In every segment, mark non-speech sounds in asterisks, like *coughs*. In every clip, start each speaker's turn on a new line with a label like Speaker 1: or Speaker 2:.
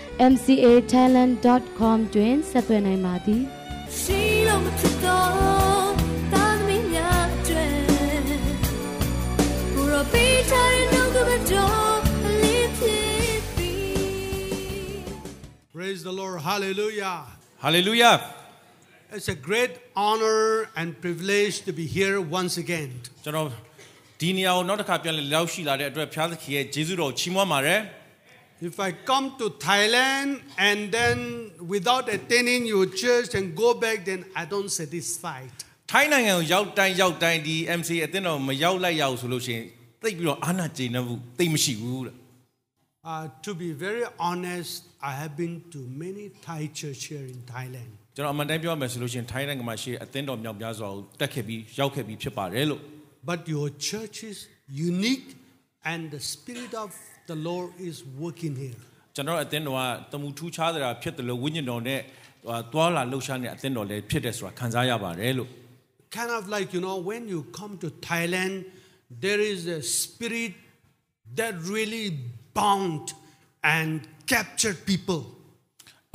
Speaker 1: mcatalent.com တွင်ဆက်သွယ်နိုင်ပါသည်
Speaker 2: ရှိလုံးမဖြစ်တော့တာသမီးများကျွဲဘူရပီချာရဲ့နှုတ်ကပတ်တော်အလေးဖြစ်ပြီ
Speaker 3: Praise the Lord. Hallelujah.
Speaker 4: Hallelujah.
Speaker 3: It's a great honor and privilege to be here once again.
Speaker 4: ကျွန်တော်ဒီနေရာကိုနောက်တစ်ခါပြန်လည်ရောက်ရှိလာတဲ့အတွက်ဖျားသခင်ရဲ့ဂျေဇုတော်ကိုချီးမွမ်းပါတယ်
Speaker 3: If I come to Thailand and then without attending your church and go back, then I don't satisfied.
Speaker 4: ။ထိုင်းနိုင်ငံကိုရောက်တိုင်းရောက်တိုင်းဒီ MC အသင်းတော်မရောက်လိုက်ရအောင်ဆိုလို့ရှိရင်တိတ်ပြီးတော့အာဏာကျေနပ်မှုတိတ်မရှိဘူးတဲ့
Speaker 3: Uh, to be very honest, I have been to many Thai church here in Thailand.
Speaker 4: ။ကျွန်တော်အမှန်တမ်းပြောမယ်ဆိုလို့ရှိရင်ထိုင်းနိုင်ငံမှာရှိတဲ့အသင်းတော်မြောက်များစွာကိုတက်ခဲ့ပြီးရောက်ခဲ့ပြီးဖြစ်ပါတယ်လို့
Speaker 3: But your church is unique and the Spirit of the Lord is working here.
Speaker 4: ကျွန်တော်အသင်းတော်ကတမူထူးခြားတာဖြစ်တယ်လို့ဝိညာဉ်တော်နဲ့ဟာသွာလာလှုပ်ရှားနေတဲ့အသင်းတော်လည်းဖြစ်တယ်ဆိုတာခံစားရပါတယ်လို့
Speaker 3: kind of like you know when you come to thailand there is a spirit that really bound and captured people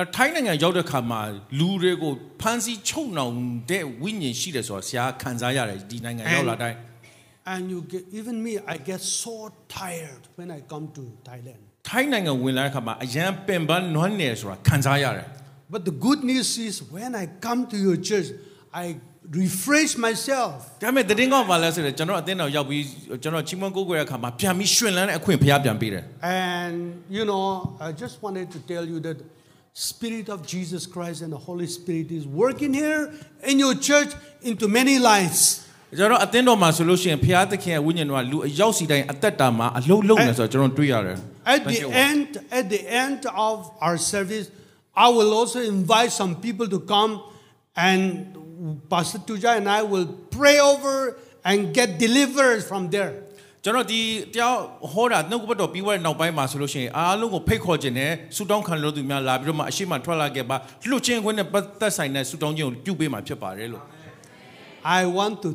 Speaker 4: အဲထိုင်းနိုင်ငံရောက်တဲ့ခါမှာလူတွေကိုဖမ်းဆီးချုပ်နှောင်တဲ့ဝိညာဉ်ရှိတယ်ဆိုတာဆရာခံစားရတယ်ဒီနိုင်ငံရောက်လာတိုင်း
Speaker 3: and you get even me i get so tired when i come to thailand
Speaker 4: ထိုင်းနိုင်ငံဝင်လာတဲ့ခါမှာအရန်ပင်ပန်းနွမ်းနယ်ဆိုတာခံစားရတယ်
Speaker 3: but the good news is when i come to your church i refresh myself
Speaker 4: ။ဒါပေမဲ့သတည်င်းကောင်းပါလဲဆိုတော့ကျွန်တော်အသင်းတော်ရောက်ပြီးကျွန်တော်ချီးမွမ်းကိုးကွယ်တဲ့ခါမှာပြန်ပြီးရှင်လန်းတဲ့အခွင့်ဖျားပြန်ပေးတယ်
Speaker 3: and you know i just wanted to tell you that spirit of jesus christ and the holy spirit is working here in your church into many lives
Speaker 4: ။ကျွန်တော်အသင်းတော်မှာဆိုလို့ရှိရင်ဖျားသခင်ရဲ့ဝိညာဉ်တော်ကလူအရောက်စီတိုင်းအသက်တာမှာအလုံးလုံးနေဆိုတော့ကျွန်တော်တွေ့ရတယ်
Speaker 3: At
Speaker 4: Thank
Speaker 3: the
Speaker 4: you.
Speaker 3: end, at the end of our service, I will also invite some people to come, and Pastor Tuja and I will pray over and get delivered from there.
Speaker 4: ကျွန်တော်ဒီတရားဟောတာနှုတ်ကပတ်တော်ပြီးွားတဲ့နောက်ပိုင်းမှာဆိုလို့ရှိရင်အားလုံးကိုဖိတ်ခေါ်ခြင်းနဲ့ဆူတောင်းခံလို့သူများလာပြီးတော့မှအရှိမထွက်လာခဲ့ပါလှုပ်ခြင်းခွင့်နဲ့ပတ်သက်ဆိုင်တဲ့ဆူတောင်းခြင်းကိုပြုပေးမှာဖြစ်ပါတယ်လို့
Speaker 3: I want to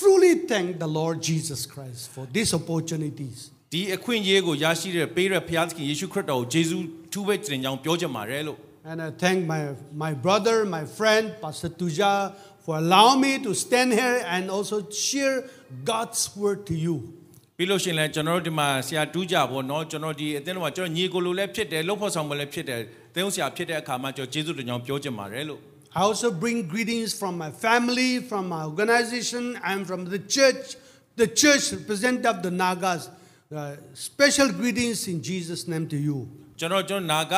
Speaker 3: truly thank the Lord Jesus Christ for these opportunities.
Speaker 4: ဒီအခွင့်အရေးကိုရရှိတဲ့ပေးတဲ့ဘုရားသခင်ယေရှုခရစ်တော်ကိုယေရှုထူးပဲကျင်ကြောင်းပြောချင်ပါတယ်လို့
Speaker 3: And I thank my, my brother, my friend, Pastor Tuja, for allowing me to stand here and also share God's word to you.
Speaker 4: ပြီးလို့ရှိရင်လည်းကျွန်တော်တို့ဒီမှာဆရာတူးကြပေါ့နော်ကျွန်တော်ဒီအသင်းတော်မှာကျွန်တော်ညီကိုလိုလည်းဖြစ်တယ်လှုပ်ဖို့ဆောင်မလည်းဖြစ်တယ်သင်းဦးဆရာဖြစ်တဲ့အခါမှာကျွန်တော်ယေရှုတင်ကြောင်းပြောချင်ပါတယ်လို့
Speaker 3: I also bring greetings from my family, from my organization, and from the church, the church representative of the Nagas. Uh, special greetings in Jesus' name to you.
Speaker 4: ကျွန်တော်ကျွန်တော်နာက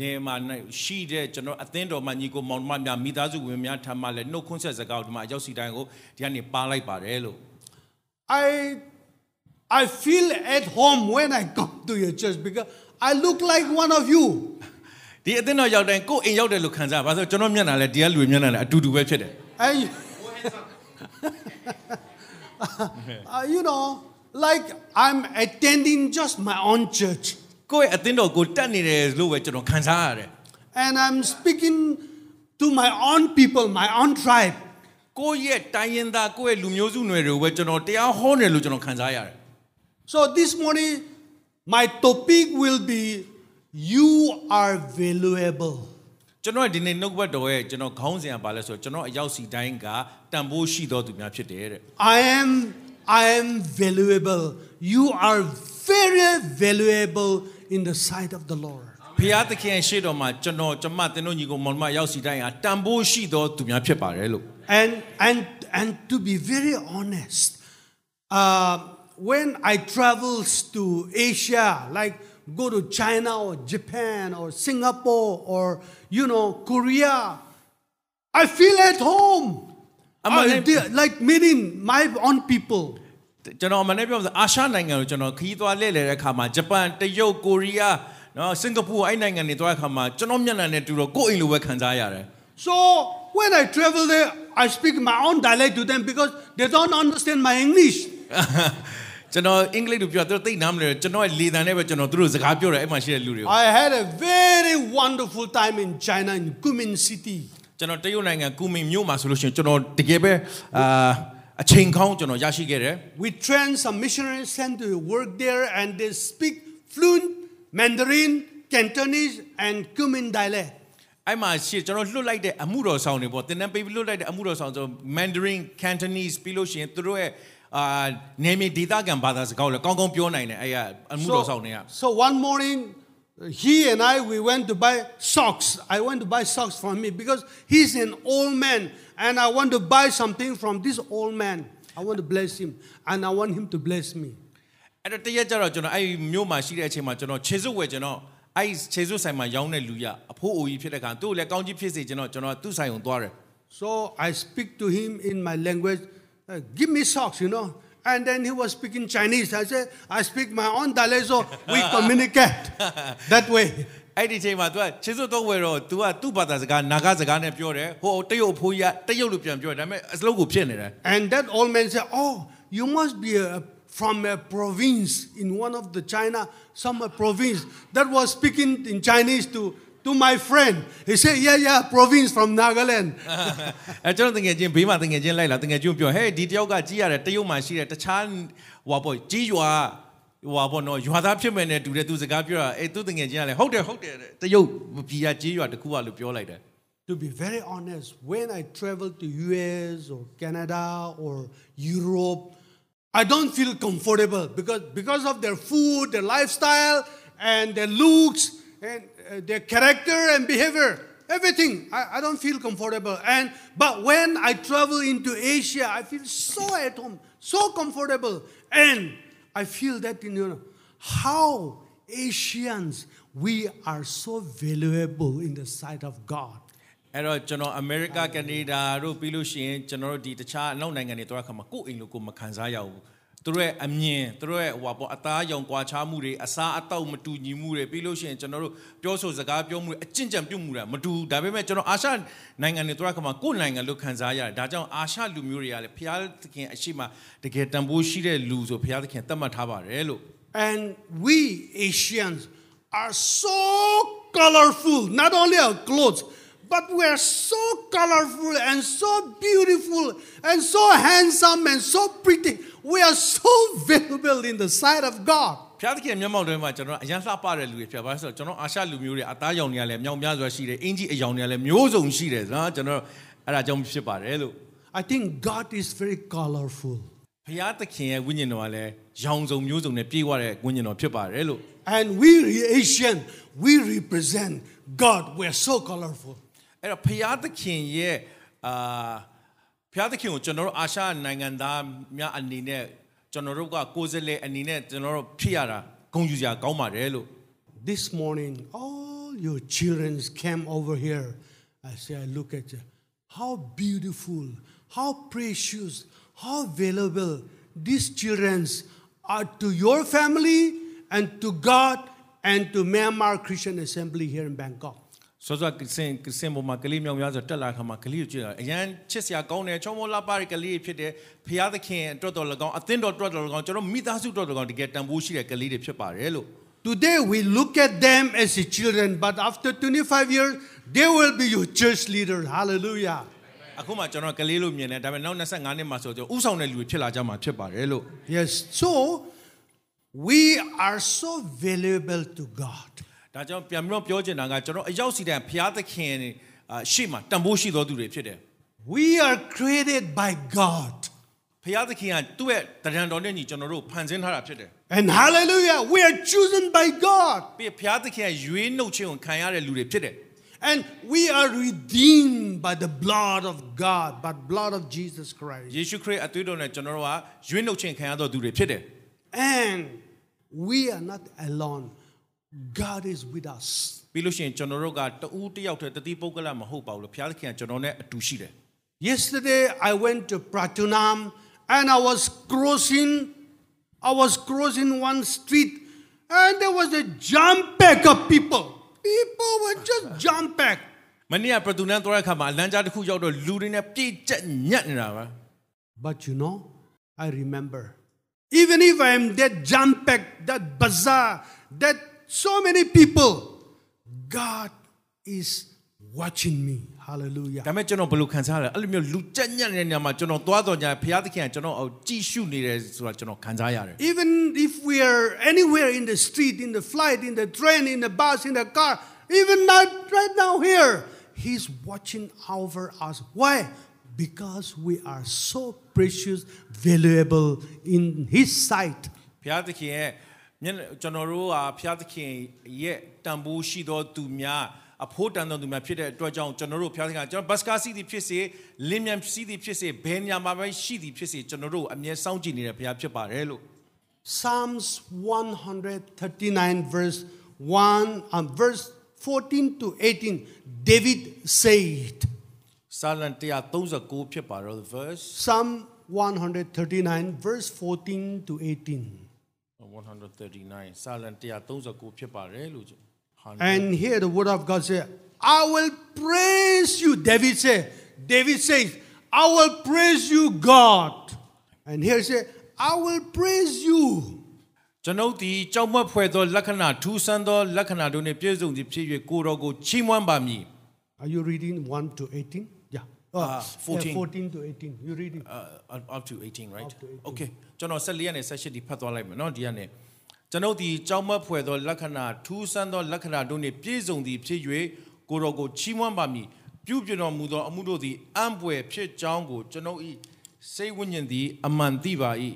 Speaker 4: နေမှာရှိတဲ့ကျွန်တော်အသင်းတော်မှာညီကိုမောင်နှမများမိသားစုဝင်များထမ်းမှလည်းနှုတ်ခွန်းဆက်စကားကိုဒီမှာအရောက်စီတိုင်းကိုဒီကနေပါလိုက်ပါတယ်လို့
Speaker 3: I, I feel at home when I come to your church because I look like one of you.
Speaker 4: ဒီအသင်းတော်ရောက်တိုင်းကိုယ့်အိမ်ရောက်တယ်လို့ခံစားရပါဆိုကျွန်တော်မျက်နှာလည်းဒီကလူတွေမျက်နှာလည်းအတူတူပဲဖြစ်တယ်
Speaker 3: And *laughs* Uh, you know, like I'm attending just my own church.
Speaker 4: ကိုယ့်ရဲ့အသင်းတော်ကိုတက်နေတယ်လို့ပဲကျွန်တော်ခံစားရတယ်
Speaker 3: And I'm speaking to my own people, my own tribe.
Speaker 4: ကိုယ့်ရဲ့တိုင်းရင်းသားကိုယ့်ရဲ့လူမျိုးစုနယ်တွေကိုပဲကျွန်တော်တရားဟောနေလို့ကျွန်တော်ခံစားရတယ်
Speaker 3: So this morning, my topic will be You are valuable.
Speaker 4: ကျွန်တော်ဒီနေ့နှုတ်ကပတ်တော်ရဲ့ကျွန်တော်ခေါင်းစဉ်ကပါလဲဆိုတော့ကျွန်တော်အရောက်စီတိုင်းကတန်ဖိုးရှိတော်သူများဖြစ်တယ်တဲ့
Speaker 3: I am I am valuable. You are very valuable in the sight of the Lord.
Speaker 4: ဖျားသခင်ရှေ့တော်မှာကျွန်တော်ကျန်မတင်တို့ညီကိုမောင်နှမရောက်စီတိုင်းဟာတန်ဖိုးရှိတော်သူများဖြစ်ပါတယ်လို့
Speaker 3: And and and to be very honest, uh, when I travels to Asia, like go to China or Japan or Singapore or you know Korea, I feel at home.
Speaker 4: I'm not
Speaker 3: I
Speaker 4: happy.
Speaker 3: de- like meeting my own people.
Speaker 4: ကျွန်တော်အမှန်တည်းပြောမှဆိုအာရှနိုင်ငံကိုကျွန်တော်ခရီးသွားလဲလဲတဲ့အခါမှာဂျပန်တရုတ်ကိုရီးယား နော်စင်ကာပူအဲ့နိုင်ငံတွေသွားတဲ့အခါမှာကျွန်တော်မျက်နှာနဲ့တူတော့ကိုယ့်အိမ်လိုပဲခံစားရတယ်
Speaker 3: So when I travel there, I speak my own dialect to them because they don't understand my English.
Speaker 4: ကျွန်တော်အင်္ဂလိပ်လိုပြောသူတို့သိနားမလဲတော့ကျွန်တော်ရဲ့လေသံနဲ့ပဲကျွန်တော်သူတို့စကားပြောတယ်အဲ့မှာရှိတဲ့လူတွေကို
Speaker 3: I had a very wonderful time in China in Kunming City.
Speaker 4: ကျွန်တော်တရုတ်နိုင်ငံကူမင်မြို့မှာဆိုလို့ရှိရင်ကျွန်တော်တကယ်ပဲအာအချိန်ကောင်းကျွန်တော်ရရှိခဲ့တယ်
Speaker 3: We trained some missionaries sent to work there and they speak fluent Mandarin, Cantonese and Kunming dialect.
Speaker 4: အဲ့မှာရှိကျွန်တော်လွတ်လိုက်တဲ့အမှုတော်ဆောင်တွေပေါ့သင်တန်းပေးပြီးလွတ်လိုက်တဲ့အမှုတော်ဆောင်ဆို Mandarin Cantonese ပြီးလို့ရှိရင်သူတို့ရဲ့အာနေမီဒေတာကန်ဘာသာစကားကိုလည်းကောင်းကောင်းပြောနိုင်တယ်အဲ့ရအမှုတော်ဆောင်တွေက
Speaker 3: so one morning, he and I, we went to buy socks. I went to buy socks for me because he's an old man and I want to buy something from this old man. I want to bless him and I want him to bless me.
Speaker 4: အဲ့တော့တရက်ကျတော့ကျွန်တော်အဲ့ဒီမြို့မှာရှိတဲ့အချိန်မှာကျွန်တော်ခြေစွပ်ဝယ်ကျွန်တော်အဲ့ဒီခြေစွပ်ဆိုင်မှာရောင်းတဲ့လူရအဖိုးအိုကြီးဖြစ်တဲ့ခါသူ့ကိုလည်းကောင်းကြီးဖြစ်စေကျွန်တော်ကျွန်တော်သူ့ဆိုင်ကိုသွားတယ်
Speaker 3: So I speak to him in my language, uh, give me socks, you know. And then he was speaking Chinese. I said, I speak my own dialect, so we communicate that way.
Speaker 4: အဲ့ဒီအချိန်မှာ तू ကခြေစွပ်တော့ဝယ်တော့ तू ကသူ့ဘာသာစကားနာဂစကားနဲ့ပြောတယ်ဟိုတရုတ်အဖိုးကြီးကတရုတ်လိုပြန်ပြောတယ်ဒါပေမဲ့အစလုံးကိုဖြစ်နေတယ်
Speaker 3: And that old man said, Oh, you must be a, from a province in one of the China, some uh, province that was speaking in Chinese to, to my friend. He said, Yeah, yeah, province from Nagaland.
Speaker 4: *laughs* အဲကျွန်တော်တငယ်ချင်းဘေးမှာတငယ်ချင်းလိုက်လာတငယ်ချင်းကိုပြောဟဲ့ဒီတယောက်ကကြီးရတယ်တရုတ်မှာရှိတယ်တခြားဟွာပေါ့ကြီးရွာဟွာပေါ့နော်ရွာသားဖြစ်မယ်နဲ့တူတယ်သူစကားပြောတာအဲသူတငယ်ချင်းကလည်းဟုတ်တယ်ဟုတ်တယ်တဲ့တရုတ်ပြည်ကကြီးရွာတစ်ခုကလို့ပြောလိုက်တယ်
Speaker 3: To be very honest, when I travel to US or Canada or Europe, I don't feel comfortable because, because of their food, their lifestyle, and their looks, and uh, their character and behavior. Everything. I, I don't feel comfortable. And but when I travel into Asia, I feel so at home, so comfortable. And I feel that in you know how Asians we are so valuable in the sight of God.
Speaker 4: အဲ့တော့ကျွန်တော်အမေရိကကနေဒါတို့ပြီးလို့ရှိရင်ကျွန်တော်တို့ဒီတခြားအနောက်နိုင်ငံတွေသွားခါမှာကိုယ့်အိမ်လိုကိုယ်မခံစားရဘူးသူတို့ရဲ့အမြင်သူတို့ရဲ့ဟွာပေါ့အသားရောင်ကွာခြားမှုတွေအစားအသောက်မတူညီမှုတွေပြီးလို့ရှိရင်ကျွန်တော်တို့ပြောဆိုစကားပြောမှုတွေအကျင့်ကြံပြုမှုတွေမတူဘူးဒါပေမဲ့ကျွန်တော်အာရှနိုင်ငံတွေသွားခါမှာကိုယ့်နိုင်ငံလိုခံစားရတယ်ဒါကြောင့်အာရှလူမျိုးတွေကလည်းဖျားသခင်အရှိမတကယ်တန်ဖိုးရှိတဲ့လူဆိုဖျားသခင်သတ်မှတ်ထားပါတယ်လို့
Speaker 3: And we Asians are so colorful, not only our clothes, but we are so colorful and so beautiful and so handsome and so pretty. We are so *laughs* valuable in the sight of God.
Speaker 4: ဖျားသခင်မျက်မှောက်ထဲမှာကျွန်တော်အရန်လှပတဲ့လူတွေဖျားပါဆိုတော့ကျွန်တော်အာရှလူမျိုးတွေအသားရောင်တွေကလည်းမြောက်များစွာရှိတယ်အင်ကြီးအယောင်တွေကလည်းမျိုးစုံရှိတယ်နော်ကျွန်တော်အဲ့ဒါကြောင့်ဖြစ်ပါတယ်လို့
Speaker 3: I think God is very colorful.
Speaker 4: ဖျားသခင်ရဲ့ဝိညာဉ်တော်ကလည်းရောင်စုံမျိုးစုံနဲ့ပြည့်ဝတဲ့ဝိညာဉ်တော်ဖြစ်ပါတယ်လို့
Speaker 3: And we Asian, we represent God. We are so colorful.
Speaker 4: အဲ့တော့ဖျားသခင်ရဲ့အာဖျားသခင်ကိုကျွန်တော်တို့အာရှနိုင်ငံသားများအနေနဲ့ကျွန်တော်တို့ကကိုယ်စားလှယ်အနေနဲ့ကျွန်တော်တို့ဖြစ်ရတာဂုဏ်ယူစရာကောင်းပါတယ်လို့
Speaker 3: This morning, all your children came over here. I say, I look at you. How beautiful, how precious, how valuable these children are to your family and to God and to Myanmar Christian Assembly here in Bangkok.
Speaker 4: စောစောကစင်ကစင်ပေါ်မှာကလေးမြောင်များစွာတက်လာခါမှာကလေးကိုကြည့်တာအရန်ချစ်စရာကောင်းတယ်ချောမောလာပါတဲ့ကလေးဖြစ်တယ်ဖျားသခင်အတွက်တော်၎င်းအသင်းတော်အတွက်တော်၎င်းကျွန်တော်မိသားစုအတွက်တော်၎င်းတကယ်တန်ဖိုးရှိတဲ့ကလေးတွေဖြစ်ပါတယ်လို့
Speaker 3: Today we look at them as the children, but after 25 years, they will be your church leaders. Hallelujah.
Speaker 4: အခုမှကျွန်တော်ကလေးလို့မြင်တယ်ဒါပေမဲ့နောက်25နှစ်မှဆိုကျွန်တော်ဥဆောင်တဲ့လူတွေဖြစ်လာကြမှာဖြစ်ပါတယ်လို့
Speaker 3: Yes. So we are so valuable to God.
Speaker 4: ဒါကြောင့်ပြန်ပြီးတော့ပြောချင်တာကကျွန်တော်အရောက်စီတိုင်းဖျားသခင်အာရှေ့မှာတန်ဖိုးရှိတော်သူတွေဖြစ်တယ်
Speaker 3: We are created by God.
Speaker 4: ဖျားသခင်ကသူ့ရဲ့တရံတော်နဲ့ညီကျွန်တော်တို့ဖန်ဆင်းထားတာဖြစ်တယ်
Speaker 3: And hallelujah, we are chosen by God.
Speaker 4: ပြီးရင်ဖျားသခင်ကရွေးနှုတ်ခြင်းကိုခံရတဲ့လူတွေဖြစ်တယ်
Speaker 3: And we are redeemed by the blood of God, by blood of Jesus Christ.
Speaker 4: ယေရှုခရစ်အသွေးတော်နဲ့ကျွန်တော်တို့ကရွေးနှုတ်ခြင်းခံရတော်သူတွေဖြစ်တယ်
Speaker 3: And we are not alone. God is with us.
Speaker 4: ။ပြီးလို့ရှိရင်ကျွန်တော်တို့ကတဦးတစ်ယောက်တည်းတတိပုဂ္ဂလမဟုတ်ပါဘူးလို့ဘုရားသခင်ကကျွန်တော်နဲ့အတူရှိတယ်
Speaker 3: Yesterday I went to Pratunam and I was crossing I was crossing one street And there was a jump pack of people. People were just jump pack.
Speaker 4: မနေ့ကပရတူနန်သွားတဲ့အခါမှာအလန်းကြားတစ်ခုရောက်တော့လူတွေနဲ့ပြည့်ကျက်ညက်နေတာပါ
Speaker 3: But you know, I remember. Even if I'm that jump pack, that bazaar, that so many people, God is watching me. Hallelujah.
Speaker 4: ဒါပေမဲ့ကျွန်တော်ဘယ်လိုခံစားရလဲအဲ့လိုမျိုးလူကြက်ညက်နေတဲ့နေရာမှာကျွန်တော်သွားတော်ညာဘုရားသခင်ကကျွန်တော်အော်ကြည့်ရှုနေတယ်ဆိုတာကျွန်တော်ခံစားရတယ်
Speaker 3: Even if we are anywhere in the street, in the flight, in the train, in the bus, in the car, even not right now here, He's watching over us. Why? Because we are so precious, valuable in His sight.
Speaker 4: ဘုရားသခင်ရဲ့မျက်နှာကျွန်တော်တို့ဟာဘုရားသခင်ရဲ့တန်ဖိုးရှိသောသူများအဖို့တန်သောသူများဖြစ်တဲ့အတွက်ကြောင့်ကျွန်တော်တို့ဘုရားသခင်ကကျွန်တော်ဘတ်စကားစီးသည်ဖြစ်စေလင်းမြန်စီးသည်ဖြစ်စေဘယ်နေရာမှာပဲရှိသည်ဖြစ်စေကျွန်တော်တို့ကိုအမြဲစောင့်ကြည့်နေတဲ့ဘုရားဖြစ်ပါတယ်လို့
Speaker 3: Psalms 139, verse 1, um, verse 14 to 18, David said,
Speaker 4: စာလံ139ဖြစ်ပါတော့ the verse
Speaker 3: Psalm 139, verse 14 to 18.
Speaker 4: 139စာလံ139ဖြစ်ပါတယ်လို့ကျွန်
Speaker 3: And here the word of God says, I will praise you. David said, David says, I will praise you, God. And here he said, I will praise you.
Speaker 4: ကျွန်ုပ်သည်ကြောက်မွက်ဖွယ်သောလက္ခဏာထူးဆန်းသောလက္ခဏာတို့နှင့်ပြည့်စုံသည်ဖြစ်၍ကိုယ်တော်ကိုချီးမွမ်းပါမည်
Speaker 3: Are you reading 1 to 18? Yeah. Oh,
Speaker 4: Ah,
Speaker 3: yeah,
Speaker 4: 14.
Speaker 3: 14 to 18. You read it.
Speaker 4: uh, up- up to 18 right okay ကျွန်တော်14ရက်နဲ့18ဒီဖတ်သွားလိုက်မယ်เนาะဒီကနေကျွန်ုပ်ဒီကြောက်မက်ဖွယ်သောလက္ခဏာထူးဆန်းသောလက္ခဏာတို့နှင့်ပြည့်စုံသည်ဖြစ်၍ကိုတော်ကိုချီးမွမ်းပါမည်ပြုပြင်တော်မူသောအမှုတို့သည်အံ့ဖွယ်ဖြစ်ကြောင်းကိုကျွန်ုပ်၏စိတ်ဝိညာဉ်သည်အမှန်သိပါ၏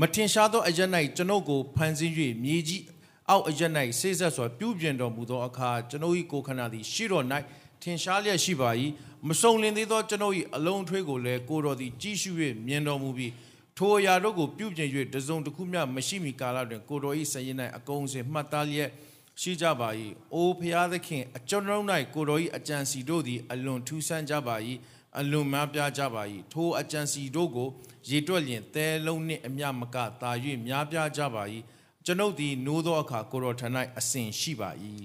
Speaker 4: မထင်ရှားသောအရက်၌ကျွန်ုပ်ကိုဖန်ဆင်း၍မြေကြီးအောက်အရက်၌ဆေးဆက်စွာပြုပြင်တော်မူသောအခါကျွန်ုပ်၏ကိုယ်ခန္ဓာသည်ရှိတော်၌ထင်ရှားလျက်ရှိပါ၏မစုံလင်သေးသောကျွန်ုပ်၏အလုံးအထွေးကိုလည်းကိုတော်သည်ကြည့်ရှု၍မြင်တော်မူပြီးထိုအရာတို့ကိုပြုပြင်၍တစ်စုံတစ်ခုမျှမရှိမီကာလတွင်ကိုတော်၏ဆင်ရင်၌အကုန်စင်မှတ်သားလျက်ရှိကြပါ၏အိုဖျားသခင်အကျွန်ုပ်၌ကိုတော်၏အကြံစီတို့သည်အလွန်ထူးဆန်းကြပါ၏အလွန်များပြားကြပါ၏ထိုအကြံစီတို့ကိုရေတွက်လျင်သဲလုံးနှင့်အမျှမကသာ၍များပြားကြပါ၏ကျွန်ုပ်သည်နိုးသောအခါကိုတော်ထံ၌အစဉ်ရှိပါ၏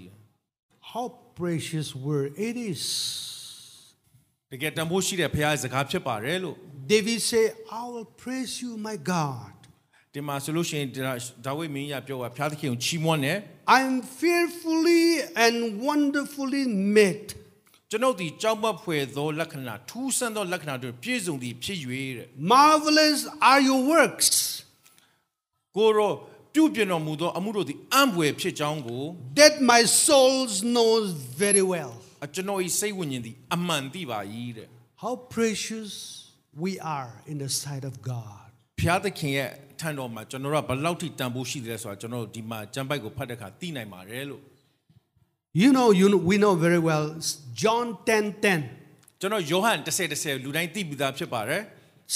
Speaker 3: How precious word it is.
Speaker 4: တကယ်တန်ဖိုးရှိတဲ့ဘုရားရဲ့စကားဖြစ်ပါတယ်လို့
Speaker 3: David said, I will praise you, my God.
Speaker 4: ဒီမှာဆိုလို့ရှိရင်ဒါဒါဝိဒ်မင်းကြီးကပြောတာဘုရားသခင်ကိုချီးမွမ်းတယ်
Speaker 3: I am fearfully and wonderfully made.
Speaker 4: ကျွန်ုပ်ဒီကြောက်မက်ဖွယ်သောလက္ခဏာထူးဆန်းသောလက္ခဏာတို့ပြည့်စုံသည်ဖြစ်၍တဲ့
Speaker 3: Marvelous are your works.
Speaker 4: ကိုရောပြုပြင်တော်မူသောအမှုတို့သည်အံ့ဖွယ်ဖြစ်ကြောင်းကို
Speaker 3: that my soul knows very well.
Speaker 4: အကျွန်ုပ်၏စိတ်ဝိညာဉ်သည်အမှန်သိပါ၏တဲ့
Speaker 3: How precious we are in the sight of God.
Speaker 4: ဘုရားသခင်ရဲ့ထံတော်မှာကျွန်တော်တို့ကဘယ်လောက်ထိတန်ဖိုးရှိတယ်လဲဆိုတာကျွန်တော်တို့ဒီမှာကျမ်းပိုက်ကိုဖတ်တဲ့အခါသိနိုင်ပါတယ်လို့
Speaker 3: You know, you know, we know very well John 10 10.
Speaker 4: ကျွန်တော်ယောဟန်10 10လူတိုင်းသိပြီးသားဖြစ်ပါတယ်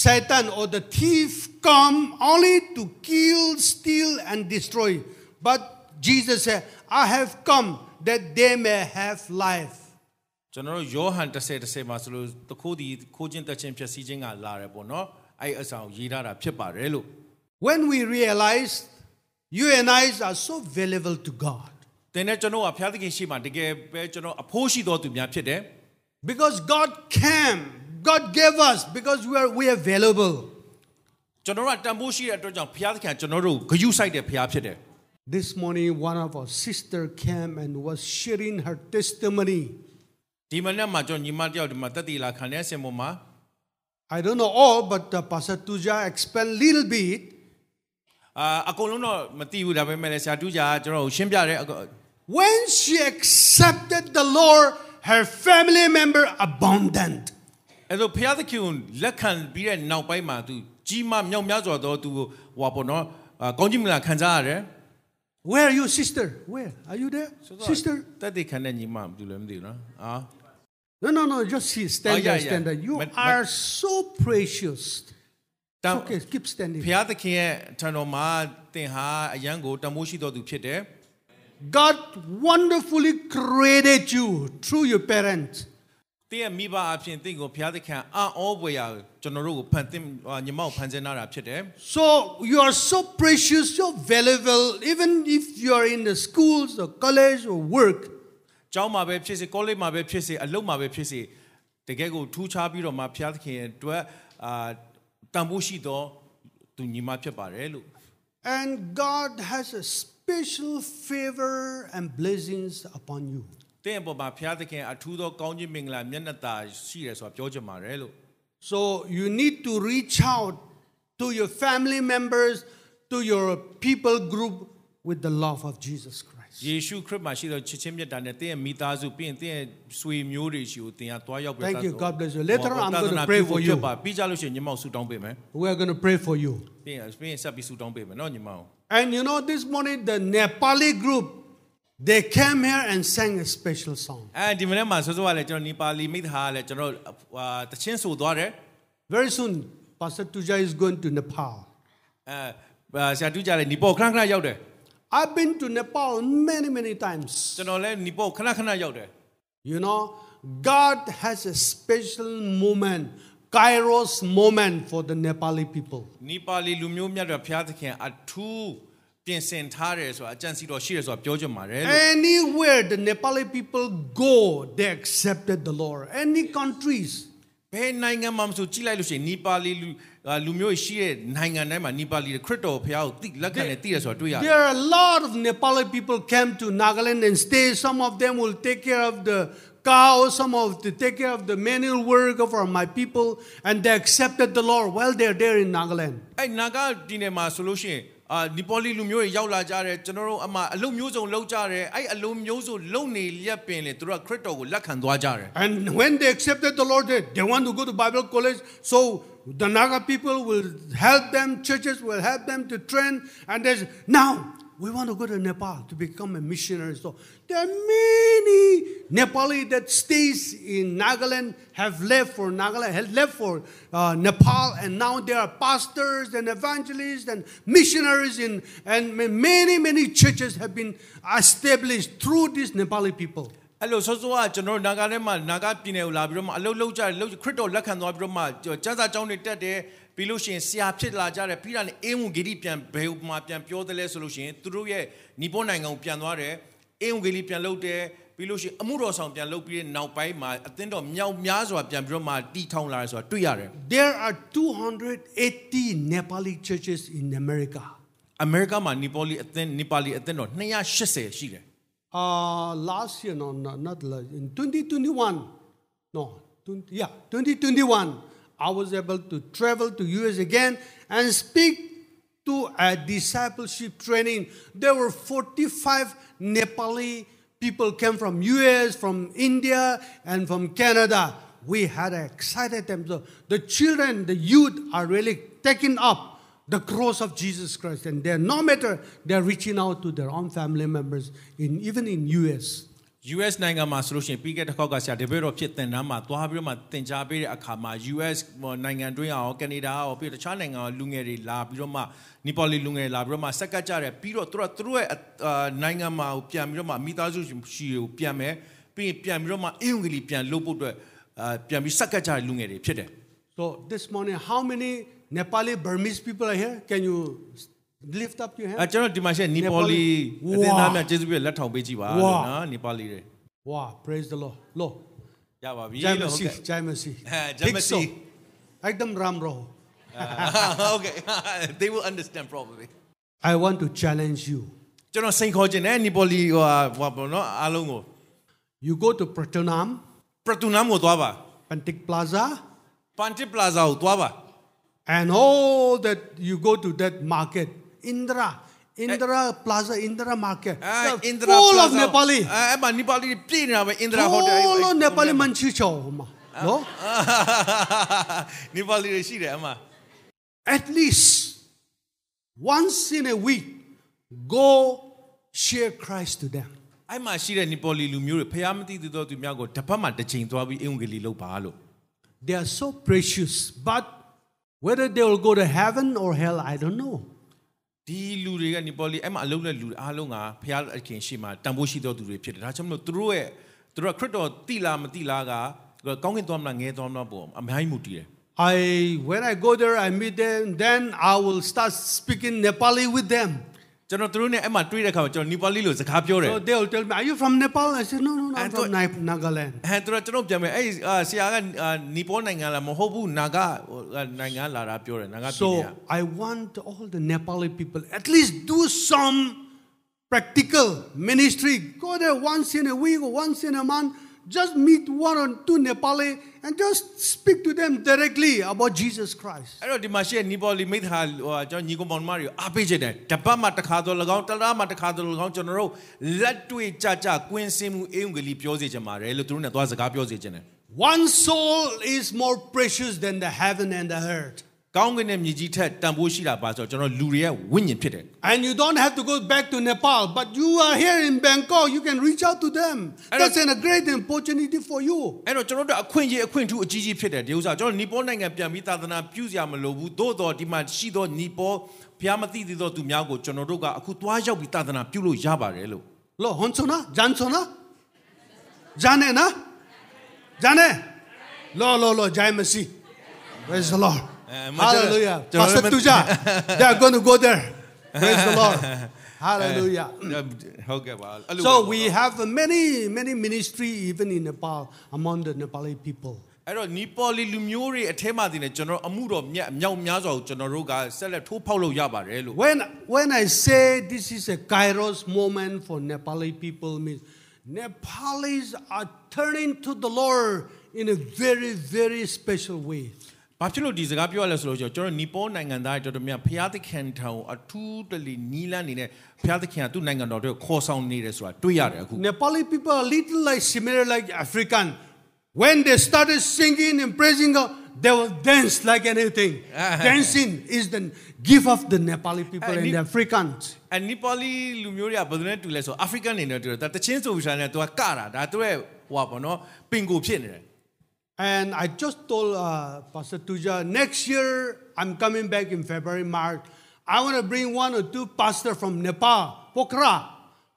Speaker 3: Satan or the thief come only to kill, steal, and destroy. But Jesus said, I have come that they may have life.
Speaker 4: ကျွန်တော်တို့ယောဟန်10 10မှာဆိုလို့တခိုးဒီခိုးခြင်းတက်ခြင်းဖြစ်စည်းခြင်းကလာတယ်ပေါ့နော်အဲ့အဆောင်ရေးထားတာဖြစ်ပါတယ်လို့
Speaker 3: When we realize you and I are so valuable to God,
Speaker 4: သင်နဲ့ကျွန်တော်ကဘုရားသခင်ရှိမှတကယ်ပဲကျွန်တော်အဖိုးရှိတော်သူများဖြစ်တယ်
Speaker 3: because God came, God gave us because we are, we are valuable.
Speaker 4: ကျွန်တော်ကတန်ဖိုးရှိတဲ့အတွက်ကြောင့်ဘုရားသခင်ကကျွန်တော်တို့ကိုဂယုစိုက်တဲ့ဘုရားဖြစ်တယ်
Speaker 3: This morning, one of our sister came and was sharing her testimony.
Speaker 4: ဒီမနေ့မှာကျွန်တော်ညီမတယောက်ဒီမှာတက်တီလာခံတဲ့အစင်ပေါ်မှာ
Speaker 3: I don't know all, but uh, Pastor Tuja explained a little bit.
Speaker 4: အာအကုန်လုံးတော့မသိဘူးဒါပေမဲ့လည်းဆရာတူကြာကကျွန်တော်ကိုရှင်းပြတယ်အကုန်
Speaker 3: When she accepted the Lord, her family member abundant.
Speaker 4: အဲ့တော့ဘုရားသခင်ကိုလက်ခံပြီးတဲ့နောက်ပိုင်းမှာသူကြီးမမြောက်များစွာသောသူကိုဟွာပေါ့နော်အာကောင်းကြီးမင်္ဂလာခံစားရတယ်
Speaker 3: Where are you, sister? Where are you there, sister?
Speaker 4: တက်တီခံတဲ့ညီမဘာလို့လဲမသိဘူးနော်အာ
Speaker 3: No, no, no. Just see, stand
Speaker 4: Oh, yeah,
Speaker 3: there,
Speaker 4: yeah.
Speaker 3: stand there. You
Speaker 4: But- but-
Speaker 3: are so precious.
Speaker 4: တန်
Speaker 3: okay, keep standing.
Speaker 4: ဘုရားသခင်ရဲ့ထံတော်မှာသင်ဟာအယံကိုတန်ဖိုးရှိတော်သူဖြစ်တယ်
Speaker 3: God wonderfully created you through your parents.
Speaker 4: တင့်ရဲ့မိဘအဖြစ်တင့်ကိုဘုရားသခင်အံ့ဩပွေရာကျွန်တော်တို့ကိုဖန်တင်ညီမကိုဖန်ဆင်းလာတာဖြစ်တယ်
Speaker 3: So you are so precious, so valuable, even if you are in the schools or college or work.
Speaker 4: ကျောင်းမှာပဲဖြစ်စေ college မှာပဲဖြစ်စေအလုပ်မှာပဲဖြစ်စေတကယ်ကိုထူးခြားပြီးတော့မှဘုရားသခင်ရဲ့အတွက်အာတန်ဖိုးရှိသောသူညီမဖြစ်ပါတယ်လို့
Speaker 3: And God has a special favor and blessings upon you.
Speaker 4: တင့်အပေါ်မှာဘုရားသခင်အထူးသောကောင်းခြင်းမင်္ဂလာမျက်နှာသာရှိတယ်ဆိုတာပြောချင်ပါတယ်လို့
Speaker 3: So you need to reach out to your family members, to your people group with the love of Jesus Christ.
Speaker 4: ယေရှုခရစ်မှာရှိသောချစ်ခြင်းမြတ်တာနဲ့တင့်ရဲ့မိသားစုပြီးရင်တင့်ရဲ့ဆွေမျိုးတွေရှိကိုတင်ရသွားရောက်ပြီး
Speaker 3: Thank you.
Speaker 4: သတ်တော်
Speaker 3: God bless you. Later on, I'm going to
Speaker 4: သနာ
Speaker 3: pray
Speaker 4: ပြု
Speaker 3: for
Speaker 4: ဖို့
Speaker 3: you.
Speaker 4: ဖြစ်ပါပြီးကြလို့ရှိရင်ညီမကိုဆုတောင်းပေးမယ်
Speaker 3: We are going to pray for you.
Speaker 4: ပြီးရင်ပြီးရင်ဆက်ပြီးဆုတောင်းပေးမယ်နော်ညီမကို
Speaker 3: And you know, this morning, the Nepali group, they came here and sang a special song.
Speaker 4: အဲဒီမနေ့မှာဆိုဆိုကလည်းကျွန်တော်နီပါလီမိသားကလည်းကျွန်တော်ဟာတချင်းဆိုသွားတယ်
Speaker 3: Very soon, Pastor Tuja is going to Nepal.
Speaker 4: အဲဘာဆရာတူကြလည်းနီပေါ်ခဏခဏရောက်တယ်
Speaker 3: I've been to Nepal many, many times.
Speaker 4: ကျွန်တော်လည်းနီပေါ်ခဏခဏရောက်တယ်
Speaker 3: You know, God has a special moment, Kairos moment for the Nepali people.
Speaker 4: နီပါလီလူမျိုးမြတ်တော်ဘုရားသခင်အထူးပြင်ဆင်ထားတယ်ဆိုတာအကြံစီတော်ရှိတယ်ဆိုတာပြောချင်ပါတယ်လို့
Speaker 3: Anywhere the Nepali people go, they accepted the Lord. Any countries,
Speaker 4: ဘယ်နိုင်ငံမှာမဆိုကြည့်လိုက်လို့ရှိရင်နီပါလီလူအာလူမျိုးရှိတဲ့နိုင်ငံတိုင်းမှာနီပါလီတွေခရစ်တော်ဘုရားကိုတိလက်ခံနဲ့တိရဆိုတာတွေ့ရတယ်
Speaker 3: there are a lot of Nepali people came to Nagaland and stay. Some of them will take care of the cows, some of them take care of the manual work for my people, and they accepted the Lord while they're there in Nagaland.
Speaker 4: အဲ့နာဂဒီနယ်မှာဆိုလို့ရှိရင်အာနီပေါ်လီလူမျိုးတွေရောက်လာကြတယ်ကျွန်တော်တို့အမအလုံမျိုးစုံလောက်ကြတယ်အဲ့အလုံမျိုးစုံလုံနေရက်ပင်လေသူတို့ကခရစ်တော်ကိုလက်ခံသွားကြတယ်
Speaker 3: And when they accepted the Lord, they, they want to go to Bible college. So the Naga people will help them, churches will help them to train. And there's now we want to go to Nepal to become a missionary. So there are many Nepali that stays in Nagaland have left for Nagaland, have left for uh, Nepal, and now there are pastors and evangelists and missionaries in and ma- many many churches have been established through these Nepali people.
Speaker 4: အဲ့လိုစောစောကကျွန်တော်တို့နာဂထဲမှာနာဂပြည်နယ်ကိုလာပြီးတော့မှအလုံလောက်ကြတယ်လုံခရစ်တော်လက်ခံသွားပြီးတော့မှကျွန်တော်စံစာကျောင်းတွေတက်တယ်ပြီးလို့ရှိရင်ဆရာဖြစ်လာကြတယ်ပြီးတာနဲ့အင်းဝန်ဂေလိပြန်ဘယ်မှာပြန်ပြောတယ်လဲဆိုလို့ရှိရင်သူတို့ရဲ့နီပေါ်နိုင်ငံကိုပြန်သွားတယ်အင်းဝန်ဂေလိပြန်လုပ်တယ်ပြီးလို့ရှိရင်အမှုတော်ဆောင်ပြန်လုပ်ပြီးတဲ့နောက်ပိုင်းမှာအသင်းတော်မြောက်များစွာပြန်ပြီးတော့မှတီထောင်လာတယ်ဆိုတာတွေ့ရတယ်
Speaker 3: There are 280 Nepali churches in America.
Speaker 4: အမေရိကမှာနီပေါ်လီအသင်းနီပါလီအသင်းတော်280ရှိတယ်
Speaker 3: Uh, last year, no, no, not last, in 2021, no, 20, yeah, 2021, I was able to travel to US again and speak to a discipleship training. There were 45 Nepali people came from US, from India, and from Canada. We had excited them. So the children, the youth are really taking up the cross of Jesus Christ, and they're no matter they're reaching out to their own family members in even in US.
Speaker 4: US နိုင်ငံမှာဆိုလို့ရှိရင်ပြီးခဲ့တဲ့ခေါက်ကဆရာဒေဗစ်တော်ဖြစ်တင်တန်းမှာသွားပြီးတော့မှတင် जा ပေးတဲ့အခါမှာ US နိုင်ငံတွင်းရောကနေဒါရောပြီးတော့တခြားနိုင်ငံရောလူငယ်တွေလာပြီးတော့မှနီပေါ်လီလူငယ်တွေလာပြီးတော့မှဆက်ကပ်ကြတယ်ပြီးတော့သူတို့ကသူတို့ရဲ့အအာနိုင်ငံမှာကိုပြန်ပြီးတော့မှမိသားစုရှိကိုပြန်မယ်ပြီးရင်ပြန်ပြီးတော့မှအင်္ဂလိပ်ပြန်လုပ်ဖို့အတွက်အာပြန်ပြီးဆက်ကပ်ကြတဲ့လူငယ်တွေဖြစ်တယ်
Speaker 3: So this morning, how many Nepali Burmese people are here? Can you s- lift up your
Speaker 4: အဲ
Speaker 3: hand?
Speaker 4: ကျွန်တော်ဒီမှာရှိတဲ့နီပေါ်လီအသင်းသားများကျေးဇူးပြုလက်ထောင်ပေးကြည့်ပါလို့နော်နီပေါ်လီတွေ *laughs*
Speaker 3: Wow, praise the Lord. Lord.
Speaker 4: ရပါပြီ
Speaker 3: Jai
Speaker 4: လို့ဟုတ်
Speaker 3: Masih,
Speaker 4: ကဲ့
Speaker 3: Jai Masih.
Speaker 4: Ha, Jai
Speaker 3: Think so.
Speaker 4: Masih.
Speaker 3: Ekdam Ram Raho.
Speaker 4: okay *laughs* they will understand probably
Speaker 3: I want to challenge you.
Speaker 4: ကျွန်တော်စိန်ခေါ်ခြင်းနဲ့နီပိုလီဟိုဟာဟိုဟာပေါ့နော်အားလုံးကို
Speaker 3: You go to Pratunam,
Speaker 4: ပရတူနမ်ကိုသွားပါ
Speaker 3: Pantik Plaza,
Speaker 4: ပန်တစ်ပလာဇာကိုသွားပါ
Speaker 3: and all that you go to that market, Indra, Indra Plaza, Indra Market.
Speaker 4: အဲ
Speaker 3: They're
Speaker 4: အင်ဒရာ
Speaker 3: full of
Speaker 4: Ah, Plaza Ah,
Speaker 3: Nepali.
Speaker 4: အဲအဲ့မှာနီပါလီတွေပြည်နေတာပဲအင်ဒရာဟိုတယ်
Speaker 3: Full of Nepali
Speaker 4: *laughs*
Speaker 3: Manchicho. ma. No?
Speaker 4: နီပါလီတွေရှိတယ်အမ
Speaker 3: At least once in a week, go share Christ to them.
Speaker 4: အဲ့မှာရှိတဲ့နီပိုလီလူမျိုးတွေဖျားမသိသေးသောသူများကိုတစ်ဖက်မှာတစ်ချိန်သွားပြီးအင်္ဂလီလုပ်ပါလို့
Speaker 3: They are so precious, but whether they will go to heaven or hell, I don't know.
Speaker 4: ဒီလူတွေကနီပေါ်လီအဲ့မှာအလုံးနဲ့လူတွေအားလုံးကဖျားအခင်ရှိမှတန်ဖိုးရှိသောသူတွေဖြစ်တယ်ဒါကြောင့်မလို့သူတို့ရဲ့သူတို့ကခရစ်တော်တိလားမတိလားက ကောင်းကင်သွားမလားငဲသွားမလားပေါ့အများကြီးမူတည်တယ်
Speaker 3: I when I go there, I meet them. Then I will start speaking Nepali with them.
Speaker 4: ကျွန်တော်သူတို့နဲ့အဲ့မှာတွေ့တဲ့အခါမှာကျွန်တော်နီပါလီလိုစကားပြောတယ်
Speaker 3: So they will tell me, "Are you from Nepal?" I said, "No, no, no. I'm
Speaker 4: And
Speaker 3: from Ni- Nagaland."
Speaker 4: ဟန်သူတို့ကျွန်တော်ပြန်မယ်အဲ့ဒီအာဆရာကအာနီပေါနိုင်ငံလားမဟုတ်ဘူးနာဂဟိုအာနိုင်ငံလာတာပြောတယ်နာဂပြည်နယ်က
Speaker 3: So I want all the Nepali people at least do some practical ministry. Go there once in a week or once in a month. Just meet one or two Nepali and just speak to them directly about Jesus Christ.
Speaker 4: အဲ့တော့ဒီမှာရှိတဲ့နီပေါလီမိသားဟိုကျွန်တော်ညီကောင်မောင်နှမတွေကိုအားပေးချင်တယ်တပတ်မှာတစ်ခါတော့၎င်းတစ်လားမှာတစ်ခါတော့၎င်းကျွန်တော်တို့လက်တွေ့ကြကြကွင်းစင်မှုအေးုံကလေးပြောစေချင်ပါတယ်လို့သူတို့နဲ့သွားစကားပြောစေချင်တယ်
Speaker 3: One soul is more precious than the heaven and the earth.
Speaker 4: ကောင်းကင်နဲ့မြေကြီးထက်တန်ဖိုးရှိတာပါဆိုတော့ကျွန်တော်လူတွေရဲ့ဝိညာဉ်ဖြစ်တယ်
Speaker 3: And you don't have to go back to Nepal, but you are here in Bangkok, you can reach out to them.
Speaker 4: And
Speaker 3: That's
Speaker 4: I-
Speaker 3: an, a great opportunity for you.
Speaker 4: အဲ့တော့ကျွန်တော်တို့အခွင့်အရေးအခွင့်အထူးအကြီးကြီးဖြစ်တယ်ဒီဥစ္စာကျွန်တော်နီပေါနိုင်ငံပြန်ပြီးသာသနာပြုစရာမလိုဘူးသို့တော်ဒီမှာရှိသောနီပေါဘုရားမသိသေးသောသူများကိုကျွန်တော်တို့ကအခုသွားရောက်ပြီးသာသနာပြုလို့ရပါတယ်လို့
Speaker 3: Lo, Honsona, Jansona, Jane, na? Jane? Lo, lo, lo, Jai Masi. Praise the Lord.
Speaker 4: Eh,
Speaker 3: Hallelujah.
Speaker 4: Major-
Speaker 3: Pastor
Speaker 4: Major-
Speaker 3: Tuja, they are going to go there. Praise the Lord. Hallelujah.
Speaker 4: ဟုတ်ကဲ့ပါအဲ့လို
Speaker 3: So we have many, many ministry even in Nepal among the Nepali people.
Speaker 4: အဲ့တော့နီပေါ်လီလူမျိုးတွေအထဲမှာတင်နေကျွန်တော်အမှုတော်မြတ်အမြောက်များစွာကိုကျွန်တော်တို့ကဆက်လက်ထိုးဖောက်လို့ရပါတယ်လို့
Speaker 3: When, when I say this is a Kairos moment for Nepali people, means Nepalis are turning to the Lord in a very, very special way.
Speaker 4: ။ဘာဖြစ်လို့ဒီစကားပြောရလဲဆိုတော့ကျွန်တော်နီပေါ်နိုင်ငံသားတွေတော်တော်များများဖျားသခင်ထံကိုအထူးတလီနီလန်းနေနဲ့ဖျားသခင်ကသူ့နိုင်ငံတော်တွေကိုခေါ်ဆောင်နေတယ်ဆိုတာတွေ့ရတယ်အခု
Speaker 3: Nepali people are little like similar like African. When they started singing and praising God, they will dance like anything. Dancing is the gift of the Nepali people
Speaker 4: And
Speaker 3: and
Speaker 4: Nep-
Speaker 3: the Africans.
Speaker 4: အနီပေါ်လီလူမျိုးတွေကဘယ်သူနဲ့တူလဲဆိုတော့အာဖရိကန်နေနဲ့တူတယ်ဒါတချင်းဆိုပြီးဆိုတာနဲ့သူကကတာဒါသူရဲ့ဟိုပါဘောနော်ပင်ကိုဖြစ်နေတယ်
Speaker 3: And I just told uh, Pastor Tuja, next year I'm coming back in February, March. I want to bring one or two pastor from Nepal, Pokhara.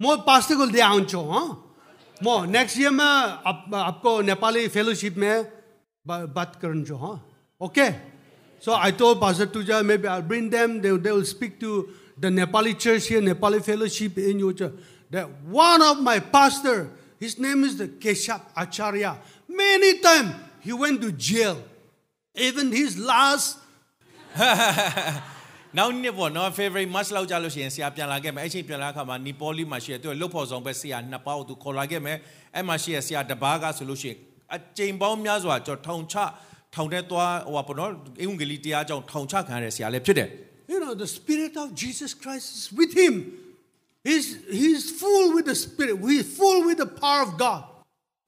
Speaker 3: More pastor को ले आउँछु huh? म next year में आप, आपको Nepali fellowship में बा, बात गर्छु huh? Okay. So I told Pastor Tuja, maybe I'll bring them. They, they will speak to the Nepali church here, Nepali fellowship in your church. That one of my pastor, his name is the Keshap Acharya. Many time he went to jail. Even his last
Speaker 4: နောက်နှစ်ပေါ့နော် February March လောက်ကြလို့ရှိရင်ဆရာပြန်လာခဲ့မယ်အဲ့ချိန်ပြန်လာတဲ့အခါမှာနီပေါ်လီမှာရှိရသူကလှုပ်ဖော်ဆောင်ပဲဆရာနှစ်ပါးကိုသူခေါ်လာခဲ့မယ်အဲ့မှာရှိရဆရာတစ်ပါးကဆိုလို့ရှိရင်အချိန်ပေါင်းများစွာကျွန်တော်ထောင်ချထောင်ထဲသွားဟိုပါဘောနော်အင်္ဂုန်ကလေးတရားကြောင့်ထောင်ချခံရတဲ့ဆရာလည်းဖြစ်တယ်
Speaker 3: You know, the Spirit of Jesus Christ is with him. He's, he's full with the Spirit. He's full with the power of God.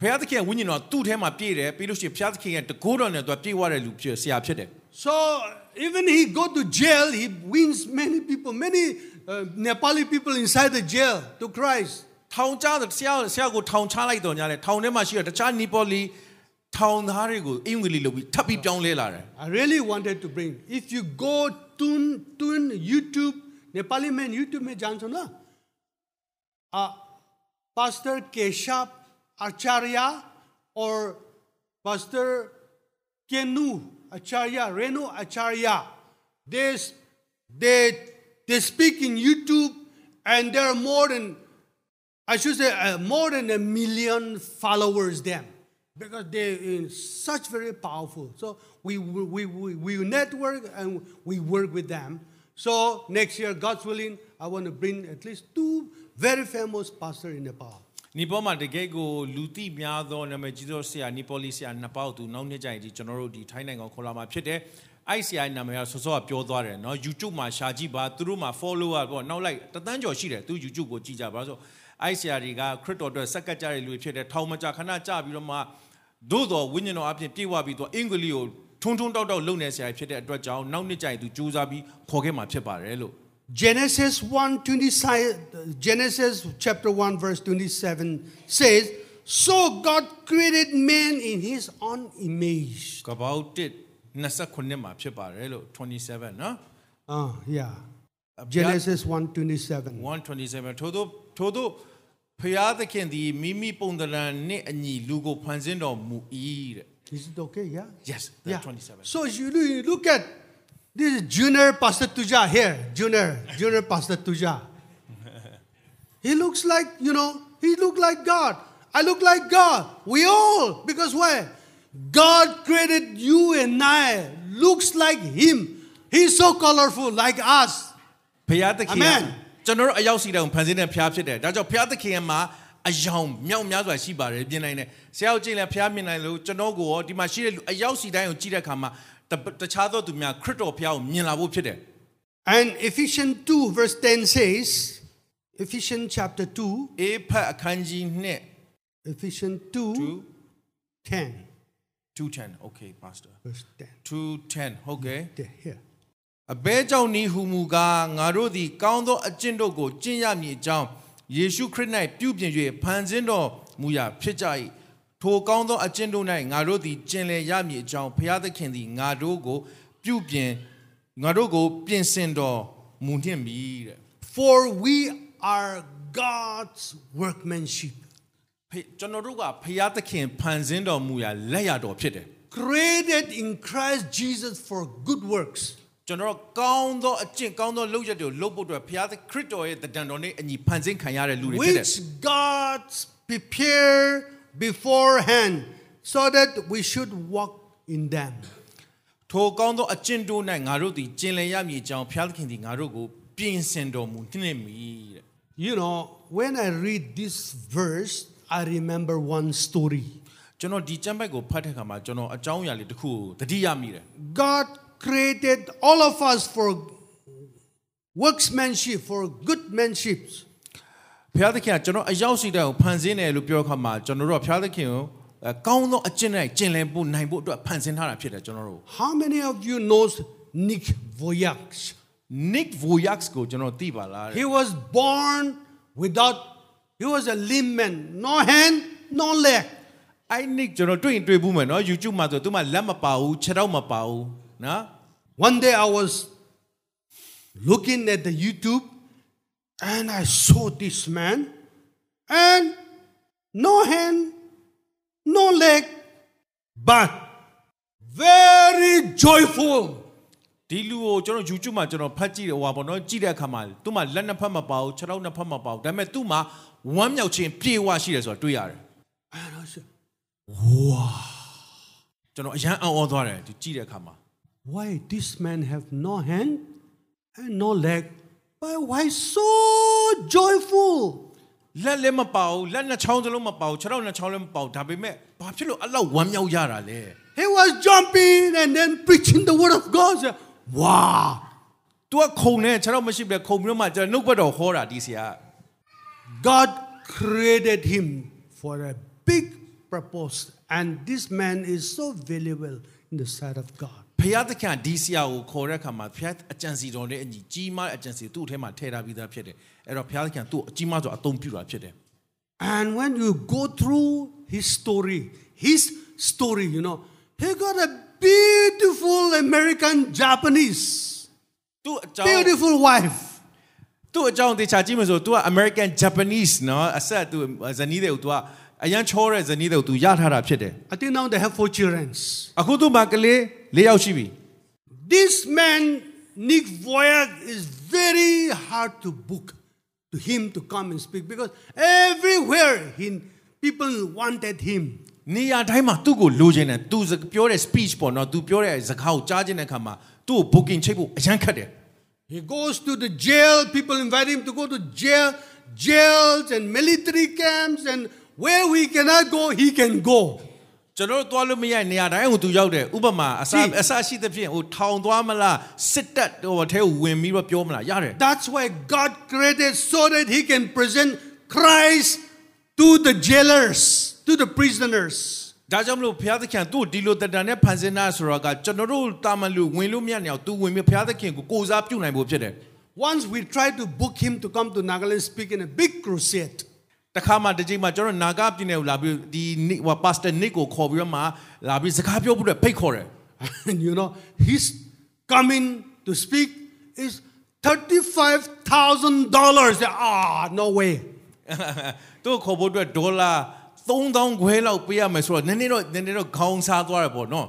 Speaker 4: ဘုရားသခင်ကဝိညာဉ်တော်သူ့ထဲမှာပြည့်တယ်ပြီးလို့ရှိရင်ဘုရားသခင်ရဲ့တကူတော်နဲ့သူကပြည့်ဝတဲ့လူဖြစ်ဆရာဖြစ်တယ်
Speaker 3: So even he go to jail, he wins many people, many uh, Nepali people inside the jail to Christ.
Speaker 4: ထောင်ချတဲ့ဆရာဆရာကိုထောင်ချလိုက်တော့ညာလဲထောင်ထဲမှာရှိရတခြားနီပေါ်လီထောင်သားတွေကိုအင်္ဂုန်ကလေးလုပ်ပြီးထပ်ပြီးပြောင်းလဲလာတယ်
Speaker 3: I really wanted to bring. If you go tune tune YouTube, Nepali man YouTube में जान्छौ न uh, Pastor Keshap Acharya or Pastor Kenu Acharya, Renu Acharya. They, s- they, they speak in YouTube and there are more than I should say uh, more than a million followers them because they in such very powerful. So we we, we we network and we work with them. So next year, God's willing, I want to bring at least two very famous pastor in Nepal.
Speaker 4: နီပေါ်မှာတကယ်ကိုလူတိများသောနာမည်ကြီးသောဆရာနီပေါ်လီဆရာနှစ်ပေါက်သူနောက်နှစ်ကြိုင်ဒီကျွန်တော်တို့ဒီထိုင်းနိုင်ငံခေါ်လာမှာဖြစ်တယ်အဲ့ဆရာနာမည်ကစောစောကပြောသွားတယ်နော် YouTube မှာရှာကြည့်ပါသူတို့မှာ follower ပေါ့နောက်လိုက်တသန်းကျော်ရှိတယ်သူ YouTube ကိုကြည့်ကြပါဆိုအဲ့ဆရာတွေကခရစ်တော်အတွက်စက္ကပ်ကြတဲ့လူတွေဖြစ်တယ်ထောင်မကြခဏကြပြီးတော့မှသို့တော်ဝိညာဉ်တော်အပြင်ပြေဝပြီးတော့အင်္ဂလိပ်ကိုထုံထုံတောက်တောက်လုပ်နေဆရာဖြစ်တဲ့အတွက်ကြောင့်နောက်နှစ်ကြိုင်သူစူးစမ်းပြီးခေါ်ခဲ့မှာဖြစ်ပါတယ်လို့
Speaker 3: Genesis 1 27, Genesis chapter 1 verse 27 says, So God created man in his own image.
Speaker 4: ကပောက်တစ်29မှာဖြစ်ပါတယ်လို့27နော်
Speaker 3: Ah, yeah.
Speaker 4: Uh,
Speaker 3: Genesis 1 27.
Speaker 4: 127ထို့သောထို့သော ဖရာသခင်သည်မိမိပုံသဏ္ဍာန်နှင့်အညီလူကိုဖန်ဆင်းတော်မူ၏တဲ့
Speaker 3: Is it okay? Yeah.
Speaker 4: Yes, the 27.
Speaker 3: So you loo- look at this is junior Pastor Tuja here, junior, junior Pastor Tuja. he looks like you know, he look like God. I look like God. We all because why? God created you and I looks like Him. He's so colorful like us.
Speaker 4: ဖရာသခင်က
Speaker 3: Amen.
Speaker 4: ကျွန်တော်တို့အရောက်စီတောင်ဖန်ဆင်းတဲ့ဖရာဖြစ်တယ်ဒါကြောင့်ဖရာသခင်မှာအယောင်မြောက်များစွာရှိပါတယ်ပြင်နိုင်တယ်ဆရာတို့ကြည့်လဲဖရာမြင်နိုင်လို့ကျွန်တော်ကိုရောဒီမှာရှိတဲ့လူအရောက်စီတိုင်းကိုကြည့်တဲ့အခါမှာတပတခြားသောသူများခရစ်တော်ဖရာကိုမြင်လာဖို့ဖြစ်တယ်
Speaker 3: And Ephesians 2, verse 10 says, Ephesians chapter 2,
Speaker 4: အေဖတ်အခန်းကြီး2
Speaker 3: Ephesians 2, 10,
Speaker 4: 210 okay pastor
Speaker 3: verse 10.
Speaker 4: 210 okay
Speaker 3: There, here.
Speaker 4: အဘဲကြောင့်ဤဟူမူကားငါတို့သည်ကောင်းသောအကျင့်တို့ကိုကျင့်ရမည်အကြောင်းယေရှုခရစ်၌ပြုပြင်၍ဖန်ဆင်းတော်မူရာဖြစ်ကြ၏ထိုကောင်းသောအကျင့်တို့၌ငါတို့သည်ကျင့်လည်ရမည်အကြောင်းဘုရားသခင်သည်ငါတို့ကိုပြုပြင်ငါတို့ကိုပြင်ဆင်တော်မူနှင့်မည်တဲ့
Speaker 3: For we are God's workmanship,
Speaker 4: ဖေကျွန်တော်တို့ကဘုရားသခင်ဖန်ဆင်းတော်မူရာလက်ရတော်ဖြစ်တယ်
Speaker 3: created in Christ Jesus for good works.
Speaker 4: ကျွန်တော်တို့ကောင်းသောအကျင့်ကောင်းသောလုပ်ရက်တွေကိုလုပ်ဖို့အတွက်ဘုရားသခင်ခရစ်တော်ရဲ့တဒံတော်နဲ့အညီဖန်ဆင်းခံရတဲ့လူတွေဖြစ်တယ်
Speaker 3: which God prepared beforehand so that we should walk in them.
Speaker 4: ထိုကောင်းသောအကျင့်တို့၌ငါတို့သည်ကျင်လည်ရမည်အကြောင်းဘုရားသခင်သည်ငါတို့ကိုပြင်ဆင်တော်မူနှင့်မည်တဲ့
Speaker 3: You know, when I read this verse, I remember one story.
Speaker 4: ကျွန်တော်ဒီကျမ်းပိုက်ကိုဖတ်တဲ့အခါမှာကျွန်တော်အကြောင်းအရာလေးတစ်ခုကိုသတိရမိတယ်
Speaker 3: God created all of us for worksmanship, for goodmanship.
Speaker 4: ဘုရားသခင်ကကျွန်တော်အရောက်ရှိတဲ့ကိုဖန်ဆင်းတယ်လို့ပြောတဲ့အခါမှာကျွန်တော်တို့ကဘုရားသခင်ကိုအဲကောင်းသောအကျင့်၌ကျင်လည်ဖို့နိုင်ဖို့အတွက်ဖန်ဆင်းထားတာဖြစ်တယ်ကျွန်တော်တို့
Speaker 3: How many of you knows Nick Voyage?
Speaker 4: Nick Voyax ကိုကျွန်တော်သိပါလားတဲ့
Speaker 3: He was born without, he was a limb man, no hand, no leg.
Speaker 4: အဲ့ Nick ကျွန်တော်တွေ့ရင်တွေ့ဘူးမယ်နော် YouTube မှာဆိုသူမှလက်မပါဘူးခြေထောက်မပါဘူးနော်
Speaker 3: One day I was looking at the YouTube and I saw this man and no hand, no leg, but very joyful.
Speaker 4: ဒီလူကိုကျွန်တော် YouTube မှာကျွန်တော်ဖတ်ကြည့်တယ်ဟွာပေါ့နော်ကြည့်တဲ့အခါမှာသူ့မှာလက်နှစ်ဖက်မပါဘူးခြေထောက်နှစ်ဖက်မပါဘူးဒါပေမဲ့သူ့မှာဝမ်းမြောက်ခြင်းပြေဝရှိတယ်ဆိုတာတွေ့ရတယ်
Speaker 3: And I said,
Speaker 4: ကျွန်တော်အယံအံ့ဩသွားတယ်ဒီကြည့်တဲ့အခါမှာ
Speaker 3: why this man have no hand and no leg, but why so joyful?
Speaker 4: လက်လည်းမပါဘူးလက်နှစ်ချောင်းစလုံးမပါဘူးခြေထောက်နှစ်ချောင်းလည်းမပါဘူးဒါပေမဲ့ဘာဖြစ်လို့အဲ့လောက်ဝမ်းမြောက်ရတာလဲ
Speaker 3: He was jumping and then preaching the word of God. I said, wow,
Speaker 4: तू ကခုံနေခြေထောက်မရှိဘူးလေခုံပြီးတော့မှကျွန်တော်နှုတ်ဘတ်တော်ဟောတာဒီဆရာ
Speaker 3: God created him for a big purpose, and this man is so valuable in the sight of God.
Speaker 4: ဖယားသခင်ကဒီဆရာကိုခေါ်တဲ့အခါမှာဖယားအကြံစီတော်နဲ့အညီကြီးမားတဲ့အကြံစီသူ့အထဲမှာထည့်ထားပြီးသားဖြစ်တယ်အဲ့တော့ဖယားသခင်ကသူ့ကိုအကြီးမားဆိုအသုံးပြုတာဖြစ်တယ်
Speaker 3: And when you go through his story, his story, you know, he got a beautiful American Japanese,
Speaker 4: သူ့အကြောင်း
Speaker 3: beautiful wife.
Speaker 4: သူ့အကြောင်းတေချာကြည့်မယ်ဆို तू က American Japanese နော်အဆက် तू ဇနီးတွေကို तू ကအရန်ချောတဲ့ဇနီးတွေကို तू ရထားတာဖြစ်တယ်
Speaker 3: I think now they have four children.
Speaker 4: အခုသူ့မှာကလေး၄ယောက်ရှိပြီ
Speaker 3: This man, Nick Voyag, is very hard to book to him to come and speak because everywhere he, people wanted him.
Speaker 4: နေရာတိုင်းမှာသူ့ကိုလိုချင်တယ် तू ပြောတဲ့ speech ပေါ့နော် तू ပြောတဲ့စကားကိုကြားခြင်းတဲ့အခါမှာသူ့ကို booking ချိတ်ဖို့အရန်ခက်တယ်
Speaker 3: He goes to the jail. People invite him to go to jail, jails and military camps, and where we cannot go, he can go.
Speaker 4: ကျွန်တော်တို့သွားလို့မရတဲ့နေရာတိုင်းကိုသူရောက်တယ်ဥပမာအ
Speaker 3: ကြ
Speaker 4: စား
Speaker 3: ည့်
Speaker 4: အစားရှိသဖြင့်ဟိုထောင်သွားမလားစစ်တပ်ဟိုအထဲကိုဝင်ပြီးတော့ပြောမလားရတယ်
Speaker 3: That's why God created so that he can present Christ to the jailers, to the prisoners.
Speaker 4: ဒါကြောင့်မလို့ဘုရားသခင်သူ့ကိုဒီလိုတတန်နဲ့ဖန်ဆင်းတာဆိုတော့ကကျွန်တော်တို့တာမန်လူဝင်လို့မရနေအောင်သူဝင်ပြီးဘုရားသခင်ကိုကိုယ်စားပြုနိုင်ဖို့ဖြစ်တယ်
Speaker 3: Once we tried to book him to come to Nagaland speak in a big crusade. *laughs*
Speaker 4: ။တခါမှတစ်ချိန်မှကျွန်တော်နာဂပြည်နယ်ကိုလာပြီးဒီနေ့ဟိုပါစတာနစ်ကိုခေါ်ပြီးတော့မှလာပြီးစကားပြောဖို့အတွက်ဖိတ်ခေါ် *laughs* တယ်
Speaker 3: And you know, his coming to speak is $35,000. Ah, no way.
Speaker 4: ။ သူ့ကိုခေါ်ဖို့အတွက်ဒေါ်လာ3000ခွဲလောက်ပေးရမယ်ဆိုတော့နည်းနည်းတော့နည်းနည်းတော့ခေါင်းစားသွားတယ်ပေါ့နော်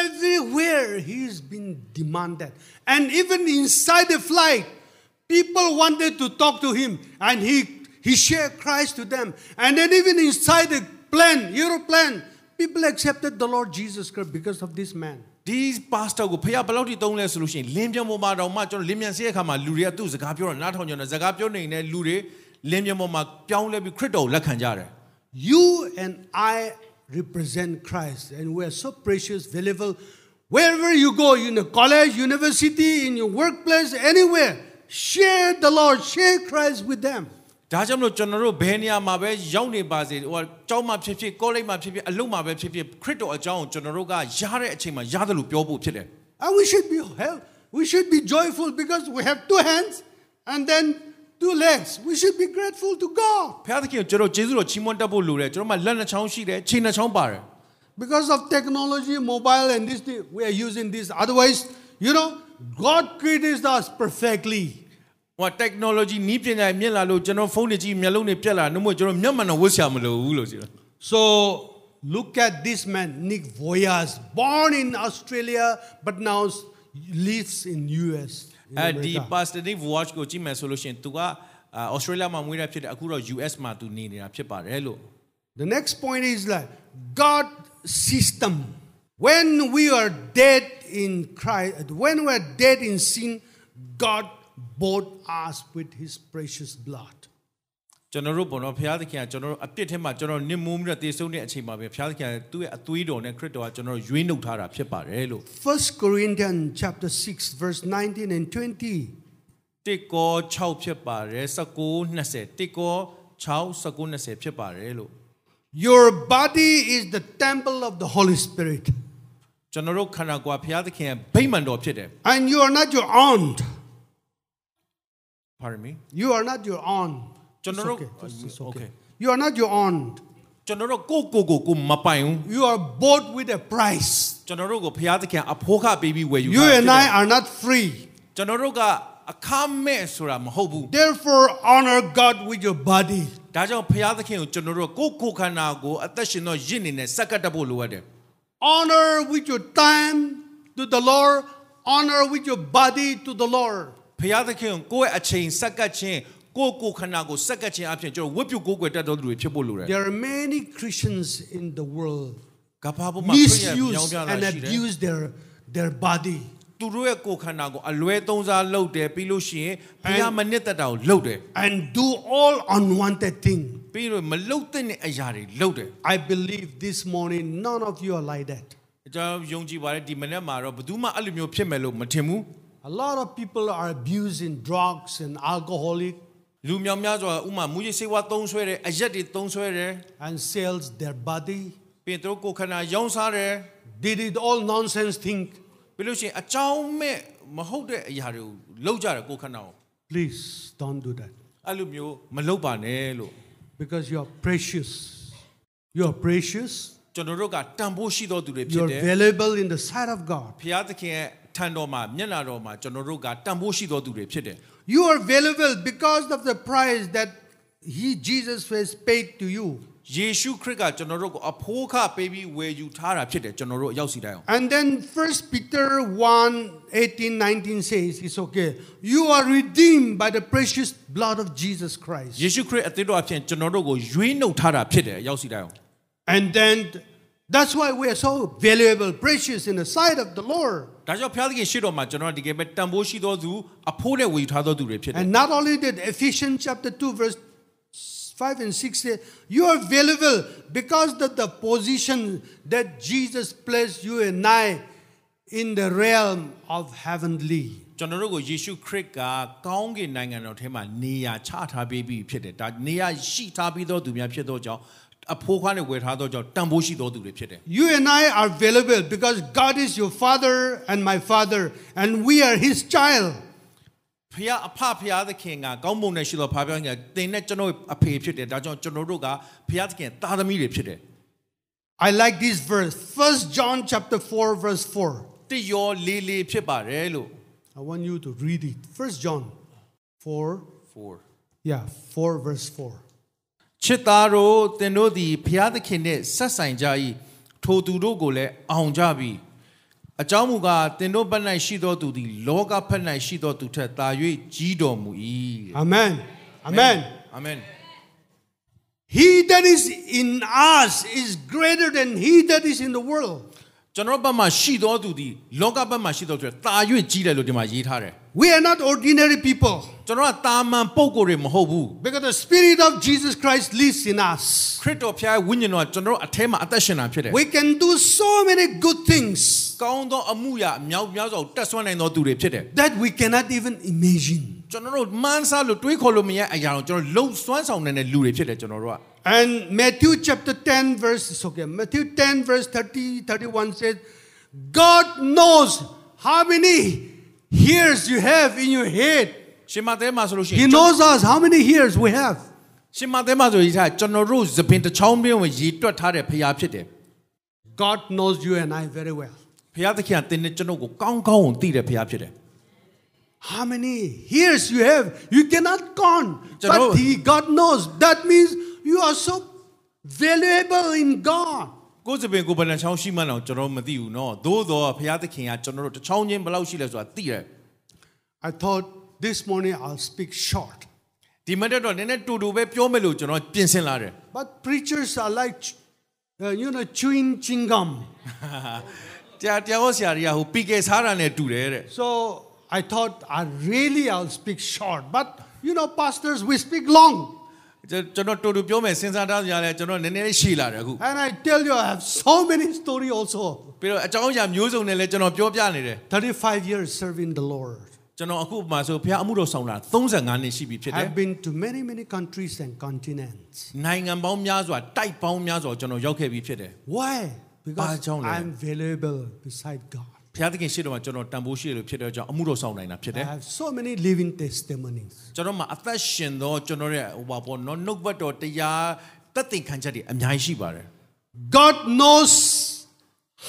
Speaker 3: Everywhere he's been demanded. And even inside the flight, people wanted to talk to him and he, he shared Christ to them. And then even inside the plane, aeroplane, people accepted the Lord Jesus Christ because of this man.
Speaker 4: ဒီပါစတာကိုဖခင်ဘယ်လောက်ထိတုံးလဲဆိုလို့ရှိရင်လင်းပြန်ပေါ်မှာတောင်မှကျွန်တော်လင်းပြန်စေးတဲ့အခါမှာလူတွေကသူ့စကားပြောတော့နားထောင်ကြတယ်စကားပြောနေတဲ့လူတွေလင်းပြန်ပေါ်မှာပြောင်းလဲပြီးခရစ်တော်ကိုလက်ခံကြတယ်
Speaker 3: You and I represent Christ, and we are so precious, valuable. Wherever you go, in a college, university, in your workplace, anywhere, share the Lord, share Christ with them.
Speaker 4: ဒါကြောင့်မလို့ကျွန်တော်တို့ဘယ်နေရာမှာပဲရောက်နေပါစေဟိုကျောင်းမှာဖြစ်ဖြစ်ကောလိပ်မှာဖြစ်ဖြစ်အလုပ်မှာပဲဖြစ်ဖြစ်ခရစ်တော်အကြောင်းကိုကျွန်တော်တို့ကရားတဲ့အချိန်မှာရားတယ်လို့ပြောဖို့ဖြစ်တယ်
Speaker 3: And we should be help. We should be joyful because we have two hands and then two legs. We should be grateful to God.
Speaker 4: ဖခင်သခင်ကိုကျွန်တော်ကျေးဇူးတော်ချီးမွမ်းတတ်ဖို့လိုတယ်ကျွန်တော်မှလက်နှစ်ချောင်းရှိတယ်ခြေနှစ်ချောင်းပါတယ်
Speaker 3: Because of technology, mobile, and this thing, we are using this. Otherwise, you know, God created us perfectly.
Speaker 4: ဟို technology နီးပညာမြင့်လာလို့ကျွန်တော်ဖုန်းတွေကြီးမျက်လုံးတွေပြက်လာနှုတ်မကျွန်တော်မျက်မှန်တော့ဝတ်ဆရာမလိုဘူးလို့ဆိုတယ်
Speaker 3: So look at this man, Nick Voyas, born in Australia, but now lives in US. in
Speaker 4: အဲ့ဒီ
Speaker 3: America.
Speaker 4: Pastor Dave Watch ကိုကြည့်မယ်ဆိုလို့ရှရင် तू ကအာ Australia မှာမွေးတာဖြစ်တယ်အခုတော့ US မှာ तू နေနေတာဖြစ်ပါတယ်လို့
Speaker 3: The next point is that God system. When we are dead in Christ, when we are dead in sin, God bought us with His precious blood.
Speaker 4: ကျွန်တော်တို့ဘုံတော်ဘုရားသခင်ကကျွန်တော်တို့အပြစ်ထဲမှာကျွန်တော်နစ်မိုးပြီးတော့တည်ဆုံတဲ့အချိန်မှာပဲဘုရားသခင်ကသူ့ရဲ့အသွေးတော်နဲ့ခရစ်တော်ကကျွန်တော်တို့ရွေးနှုတ်ထားတာဖြစ်ပါတယ်လို့
Speaker 3: First Corinthians chapter six, verse nineteen and twenty.
Speaker 4: တစ်ကော6ဖြစ်ပါတယ်19 20တစ်ကော6 19 20ဖြစ်ပါတယ်လို့
Speaker 3: Your body is the temple of the Holy Spirit,
Speaker 4: ကျွန်တော်တို့ခန္ဓာကိုယ်ကဘုရားသခင်ရဲ့ဗိမာန်တော်ဖြစ်တယ်
Speaker 3: and you are not your own.
Speaker 4: pardon me
Speaker 3: You are not your own.
Speaker 4: John,
Speaker 3: It's
Speaker 4: no, no.
Speaker 3: okay. It's- it's okay.
Speaker 4: Okay.
Speaker 3: You are not your own.
Speaker 4: ကျွန်တော်တို့ကိုယ့်ကိုယ်ကိုယ်ကိုမပိုင်ဘူး
Speaker 3: You are bought with a price.
Speaker 4: ကျွန်တော်တို့ကိုဘုရားသခင်အဖိုးခပေးပြီးဝယ်ယူ
Speaker 3: You
Speaker 4: တာဖြစ်တယ်
Speaker 3: and I are not free.
Speaker 4: ကျွန်တော်တို့ကအခမဲ့ဆိုတာမဟုတ်ဘူး
Speaker 3: Therefore, honor God with your body.
Speaker 4: ဒါကြောင့်ဖျားသခင်ကိုကျွန်တော်တို့ကိုယ့်ကိုယ်ခန္ဓာကိုအသက်ရှင်တော့ရင့်နေနဲ့စက္ကတ်တဖို့လိုအပ်တယ်
Speaker 3: Honor with your time to the Lord. Honor with your body to the Lord.
Speaker 4: ဖျားသခင်ကိုကိုယ့်ရဲ့အချိန်စက္ကတ်ခြင်းကိုယ့်ကိုယ်ခန္ဓာကိုစက္ကတ်ခြင်းအပြင်ကျွန်တော်ဝတ်ပြုကိုယ်ကိုယ်တတ်တော်သူတွေဖြစ်ဖို့လိုတယ်
Speaker 3: There are many Christians in the world
Speaker 4: ကပ္ပဘုမှာခရစ်ယာန်
Speaker 3: misuse
Speaker 4: ရောင်းပြတာ
Speaker 3: and
Speaker 4: ရှိတယ်
Speaker 3: abuse their, their body.
Speaker 4: သူတို့ရဲ့ကိုယ်ခန္ဓာကိုအလွဲသုံးစားလုပ်တယ်ပြီးလို့ရှိရင်ဖျားမနစ်သက်တာကိုလုပ်တယ်
Speaker 3: and do all unwanted thing.
Speaker 4: ပြီးတော့မလုပ်သင့်တဲ့အရာတွေလုပ်တယ်
Speaker 3: I believe this morning none of you are like that.
Speaker 4: ကျွန်တော်ယုံကြည်ပါတယ်ဒီမနေ့မှာတော့ဘယ်သူမှအဲ့လိုမျိုးဖြစ်မယ်လို့မထင်ဘူး
Speaker 3: A lot of people are abusing drugs and alcoholic
Speaker 4: လူမြောင်များစွာဥမာမူကြီးစေဝါသုံးဆွဲတယ်အရက်တွေသုံးဆွဲတယ်
Speaker 3: and sells their body.
Speaker 4: ပြင်သူတို့ကိုယ်ခန္ဓာရောင်းစားတယ်
Speaker 3: They did all nonsense thing.
Speaker 4: ပြီးလို့ရှိရင်အကြောင်းမဲ့မဟုတ်တဲ့အရာတွေကိုလောက်ကြတယ်ကိုယ်ခန္ဓာကို
Speaker 3: Please don't do that
Speaker 4: အဲ့လိုမျိုးမလောက်ပါနဲ့လို့
Speaker 3: because you are precious. You are precious.
Speaker 4: ကျွန်တော်တို့ကတန်ဖိုးရှိသောသူတွေဖြ
Speaker 3: You
Speaker 4: စ်
Speaker 3: are
Speaker 4: တယ်
Speaker 3: valuable in the sight of God.
Speaker 4: ဖျားသခင်ရဲ့ထံတော်မှာမျက်နာတော်မှာကျွန်တော်တို့ကတန်ဖိုးရှိသောသူတွေဖြစ်တယ်
Speaker 3: You are valuable because of the price that He Jesus has paid to you.
Speaker 4: ယေရှုခရစ်ကကျွန်တော်တို့ကိုအဖိုးအခပေးပြီးဝယ်ယူထားတာဖြစ်တယ်ကျွန်တော်တို့အရောက်စီတိုင်းအောင်
Speaker 3: And then 1 Peter 1 18, 19 says, It's okay. You are redeemed by the precious blood of Jesus Christ.
Speaker 4: ယေရှုခရစ်အသင်းတော်အဖြစ်ကျွန်တော်တို့ကိုရွေးနှုတ်ထားတာဖြစ်တယ်အရောက်စီတိုင်းအောင်
Speaker 3: And then that's why we are so valuable, precious in the sight of the Lord.
Speaker 4: ဒါကြောင့်ဖျားသခင်ရှေ့တော်မှာကျွန်တော်တို့ဒီကဲပဲတန်ဖိုးရှိသောသူအဖိုးနဲ့ဝယ်ယူထားသောသူတွေဖြစ်တယ်
Speaker 3: And not only that, Ephesians chapter 2, verse 5 and 6 say, You are valuable because of the position that Jesus placed you and I in the realm of heavenly.
Speaker 4: ကျွန်တော်တို့ကိုယေရှုခရစ်ကကောင်းကင်နိုင်ငံတော်ထဲမှာနေရာချထားပေးပြီးဖြစ်တယ်ဒါနေရာရှိထားပြီးသောသူများဖြစ်သောကြောင့်အဖိုးခွားနဲ့ဝယ်ထားသောကြောင့်တန်ဖိုးရှိသောသူတွေဖြစ်တယ်
Speaker 3: You and I are valuable because God is your father and my father, and we are his child.
Speaker 4: ဖခင်အဖဖခင်သခင်ကကောင်းမွန်နဲ့ရှိသောဖခင်ကတင်နဲ့ကျွန်တော်ရဲ့အဖေဖြစ်တယ်ဒါကြောင့်ကျွန်တော်တို့ကဖခင်သခင်သားသမီးတွေဖြစ်တယ်
Speaker 3: I like this verse, 1 John chapter 4, verse 4.
Speaker 4: တယောလေးလေးဖြစ်ပါတယ်လို့
Speaker 3: I want you to read it. 1 John 4,
Speaker 4: 4
Speaker 3: yeah, 4, verse 4.
Speaker 4: ချစ်သားတို့သင်တို့သည်ဘုရားသခင်နှင့်ဆက်ဆိုင်ကြ၏ထိုသူတို့ကိုလည်းအောင်ကြပြီအကြောင်းမူကားသင်တို့ဘက်၌ရှိသောသူသည်လောကဘက်၌ရှိသောသူထက်သာ၍ကြီးတော်မူ၏တဲ့
Speaker 3: Amen. Amen.
Speaker 4: Amen
Speaker 3: He that is in us is greater than he that is in the world.
Speaker 4: ကျွန်တော်တို့ဘက်မှာရှိသောသူသည်လောကဘက်မှာရှိသောသူထက်သာ၍ကြီးတယ်လို့ဒီမှာရေးထားတယ်
Speaker 3: We are not ordinary people
Speaker 4: ကျွန်တော်ကတာမန်ပုံကိုယ်တွေမဟုတ်ဘူး
Speaker 3: because the Spirit of Jesus Christ lives in us.
Speaker 4: ခရစ်တော်ဖျားရဲ့ဝိညာဉ်တော်ကကျွန်တော်တို့အထဲမှာအသက်ရှင်တာဖြစ်တယ်
Speaker 3: We can do so many good things
Speaker 4: ကောင်းသောအမှုရာအမြောက်များစွာကိုတက်ဆွမ်းနိုင်သောသူတွေဖြစ်တယ်
Speaker 3: that we cannot even imagine.
Speaker 4: ကျွန်တော်တို့မှန်းဆလို့တွေးခေါ်လို့မရအရာကိုကျွန်တော်လှုပ်စွမ်းဆောင်နိုင်တဲ့လူတွေဖြစ်တယ်ကျွန်တော်တို့က
Speaker 3: And Matthew chapter 10 verse it's okay. Matthew 10 verse 30 31 says God knows how many hairs you have in your head.
Speaker 4: ရှင်မသဲမှာဆိုလို့ရှိရ
Speaker 3: He
Speaker 4: င်ကျွန်တော်
Speaker 3: knows us how many hairs we have.
Speaker 4: ရှင်မသဲမှာဆိုရေးထားကျွန်တော်တို့သပင်တစ်ချောင်းပြင်းဝင်ရေတွက်ထားတဲ့ဖရာဖြစ်တယ်
Speaker 3: God knows you and I very well.
Speaker 4: ဖရာသခင်ကတင်းနဲ့ကျွန်တော်ကိုကောင်းကောင်းကိုသိတဲ့ဖရာဖြစ်တယ်
Speaker 3: How many years you have? You cannot count.
Speaker 4: Don't know.
Speaker 3: But he, God knows. That means you are so valuable in God.
Speaker 4: ကိုယ်စပင်ကိုယ်ဘယ်နှချောင်းရှိမှန်းတော့ကျွန်တော်မသိဘူးเนาะသို့တော့ဖရာသခင်ကကျွန်တော်တို့တစ်ချောင်းချင်းဘယ်လောက်ရှိလဲဆိုတာသိတယ်
Speaker 3: I thought this morning I'll speak short.
Speaker 4: ဒီမတက်တော့နည်းနည်းတူတူပဲပြောမယ်လို့ကျွန်တော်ပြင်ဆင်လာတယ်
Speaker 3: But preachers are like, ch- uh, you know, chewing chewing gum.
Speaker 4: *laughs* တရားတရားဟောဆရာတွေကဟိုပီကေစားတာနဲ့တူတယ်တဲ့
Speaker 3: So I thought I really I'll speak short. But you know, pastors, we speak long.
Speaker 4: ကျွန်တော်တူတူပြောမယ်စဉ်းစားထားစရာလဲကျွန်တော်နည်းနည်းလေးရှည်လာတယ်အခု
Speaker 3: And I tell you, I have so many story also.
Speaker 4: ပြီးတော့အကြောင်းအရာမျိုးစုံနဲ့လဲကျွန်တော်ပြောပြနေတယ်
Speaker 3: 35 years serving the Lord.
Speaker 4: ကျွန်တော်အခုမှဆိုဖះအမှုတော်ဆောင်တာ35နှစ်ရှိပြီဖြစ်တယ်
Speaker 3: I've been to many, many countries and continents.
Speaker 4: နိုင်ငံပေါင်းများစွာတိုက်ပေါင်းများစွာကျွန်တော်ရောက်ခဲ့ပြီဖြစ်တယ်
Speaker 3: Why? Because
Speaker 4: Bajong le.
Speaker 3: I'm valuable beside God.
Speaker 4: ဖះသခင်ရှိတော်မှာကျွန်တော်တန်ဖိုးရှိတယ်လို့ဖြစ်တဲ့အကြောင်းအမှုတော်ဆောင်နိုင်တာဖြစ်တ
Speaker 3: I
Speaker 4: ယ်
Speaker 3: have so many living testimonies.
Speaker 4: ကျွန်တော်မှာအသက်ရှင်သောကျွန်တော်ရဲ့ဟိုပါပေါ့နော်နှုတ်ဘတ်တော်တရားတက်တင်ခံချက်တွေအများကြီးရှိပါတယ်
Speaker 3: God knows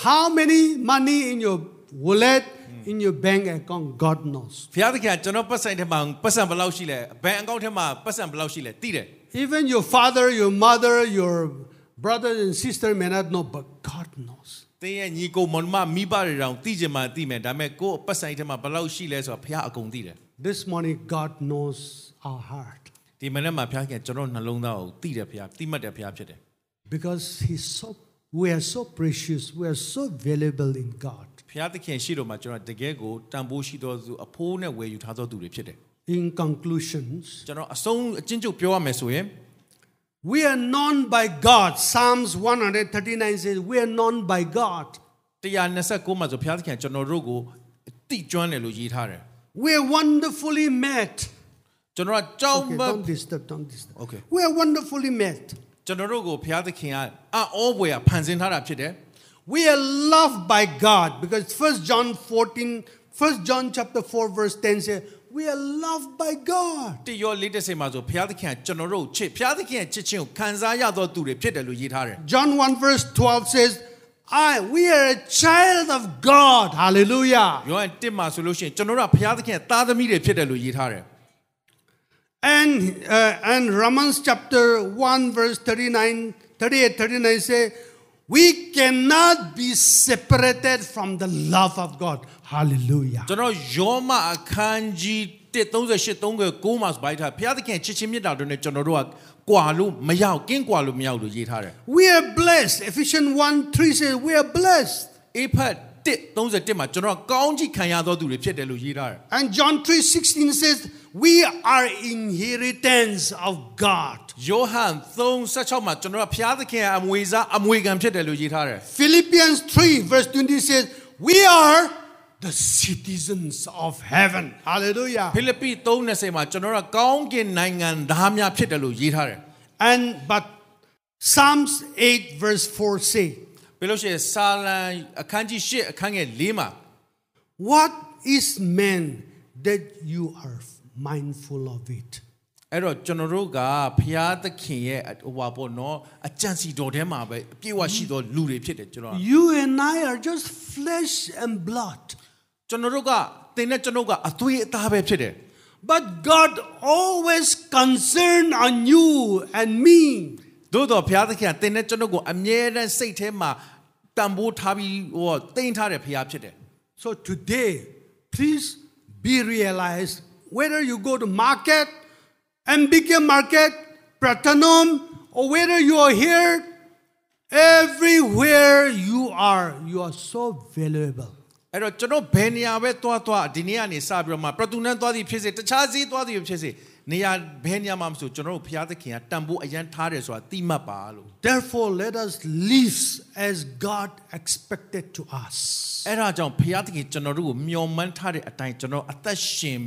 Speaker 3: how many money in your wallet, in your bank account, God knows.
Speaker 4: ဖះသခင်ကကျွန်တော်ပတ်စံထဲမှာပတ်စံဘယ်လောက်ရှိလဲဘန်အကောင့်ထဲမှာပတ်စံဘယ်လောက်ရှိလဲသိတယ်
Speaker 3: Even your father, your mother, your brothers and sister may not know, but God knows.
Speaker 4: သင်ရဲ့ညီကိုမောင်မမိဘတွေတောင်သိကြမှာသိမယ်ဒါပေမဲ့ကိုယ့်အပတ်ဆိုင်ထဲမှာဘယ်လောက်ရှိလဲဆိုတာဘုရားအကုန်သိတယ်
Speaker 3: This morning, God knows our heart
Speaker 4: ဒီမနေ့မှာဘုရားခင်ကျွန်တော်နှလုံးသားကိုသိတယ်ဘုရားသိမှတ်တယ်ဘုရားဖြစ်တယ်
Speaker 3: because He's so, we are so precious, we are so valuable in God.
Speaker 4: ဘုရားသခင်ရှိတော်မှာကျွန်တော်တကယ်ကိုတန်ဖိုးရှိတော်သူအဖိုးနဲ့ဝယ်ယူထားတော်သူတွေဖြစ်တယ်
Speaker 3: In conclusions,
Speaker 4: ကျွန်တော်အဆုံးအချင်းချုပ်ပြောရမယ်ဆိုရင်
Speaker 3: We are known by God. Psalms 139 says, We are known by God.
Speaker 4: 129မှာဆိုဘုရားသခင်ကျွန်တော်တို့ကိုအတိကျွမ်းတယ်လို့ရေးထားတယ်
Speaker 3: We are wonderfully met.
Speaker 4: ကျွန်တော်ကကြောင်း
Speaker 3: Okay,
Speaker 4: မ
Speaker 3: don't disturb, don't disturb.
Speaker 4: Okay.
Speaker 3: We are wonderfully met.
Speaker 4: ကျွန်တော်တို့ကိုဘုရားသခင်ကအံ့ဩဖွယ်ကဖန်ဆင်းထားတာဖြစ်တယ်
Speaker 3: We are loved by God because 1 John 14, 1 John chapter 4, verse 10 says, We are loved by God.
Speaker 4: တိရောလေးတစ်စိမ်မှာဆိုဘုရားသခင်ကကျွန်တော်တို့ကိုချစ်ဘုရားသခင်ရဲ့ချစ်ခြင်းကိုခံစားရသောသူတွေဖြစ်တယ်လို့ရေးထားတယ်
Speaker 3: John 1 verse 12 says, I we are a child of God. Hallelujah.
Speaker 4: ယောဟန်1မှာဆိုလို့ရှိရင်ကျွန်တော်တို့ကဘုရားသခင်ရဲ့သားသမီးတွေဖြစ်တယ်လို့ရေးထားတယ်
Speaker 3: And, uh, and Romans chapter 1, verse 39, 38, 39 say, We cannot be separated from the love of God. Hallelujah.
Speaker 4: ကျွန်တော်ယောမအခန်းကြီး138 39မှာဆိုပိုက်ထားဘုရားသခင်ချစ်ချင်းမြတ်တာတို့နဲ့ကျွန်တော်တို့ကကွာလို့မရောက်ကင်းကွာလို့မရောက်လို့ရေးထားတယ်
Speaker 3: We are blessed. Ephesians 1 3 says, We are blessed.
Speaker 4: အေဖတ်131မှာကျွန်တော်ကကောင်းကြီးခံရသောသူတွေဖြစ်တယ်လို့ရေးထားတယ်
Speaker 3: And John 3 16 says, We are inheritance of God.
Speaker 4: ယောဟန်3:16မှာကျွန်တော်ကဘုရားသခင်ရဲ့အမွေစားအမွေခံဖြစ်တယ်လို့ရေးထားတယ်
Speaker 3: Philippians 3 verse 20 says, We are the citizens of heaven. Hallelujah.
Speaker 4: ဖိလိပ္ပိ3:20မှာကျွန်တော်ကကောင်းကင်နိုင်ငံသားများဖြစ်တယ်လို့ရေးထားတယ်
Speaker 3: And but Psalms 8 verse 4 say,
Speaker 4: ပြီးလို့ရှိရင်စာလံအခန်းကြီး8အခန်းငယ်၄မှာ
Speaker 3: What is man that you are mindful of it?
Speaker 4: အဲ့တော့ကျွန်တော်တို့ကဖျားသခင်ရဲ့ဟိုပါပေါ့နော်အကြံစီတော်ထဲမှာပဲအပြည့်အဝရှိသောလူတွေဖြစ်တယ်ကျွန်တော်က
Speaker 3: You and I are just flesh and blood.
Speaker 4: ကျွန်တော်တို့ကသင်နဲ့ကျွန်တော်ကအသွေးအသားပဲဖြစ်တယ်
Speaker 3: But God always concerned on you and me.
Speaker 4: သို့တော်ဘုရားသခင်ကသင်နဲ့ကျွန်တော်ကိုအမြဲတမ်းစိတ်ထဲမှာတန်ဖိုးထားပြီးဟောတိမ်ထားတဲ့ဘုရားဖြစ်တယ်
Speaker 3: So today, please be realized whether you go to market, MBK market, Pratanam, or whether you are here, everywhere you are, you are so valuable.
Speaker 4: အဲ့တော့ကျွန်တော်ဘယ်နေရာပဲသွားသွားဒီနေ့ကနေစပြီးတော့မှပရတူနန်သွားသည်ဖြစ်စေတခြားစီးသွားသည်ဖြစ်စေနေရာဘယ်နေရာမှမဆိုကျွန်တော်တို့ဘုရားသခင်ကတန်ဖိုးအရန်ထားတယ်ဆိုတာသိမှတ်ပါလို့
Speaker 3: Therefore, let us live as God expected to us.
Speaker 4: အဲ့ဒါကြောင့်ဘုရားသခင်ကျွန်တော်တို့ကိုမျှော်မှန်းထားတဲ့အတိုင်းကျွန်တော်အသက်ရှင်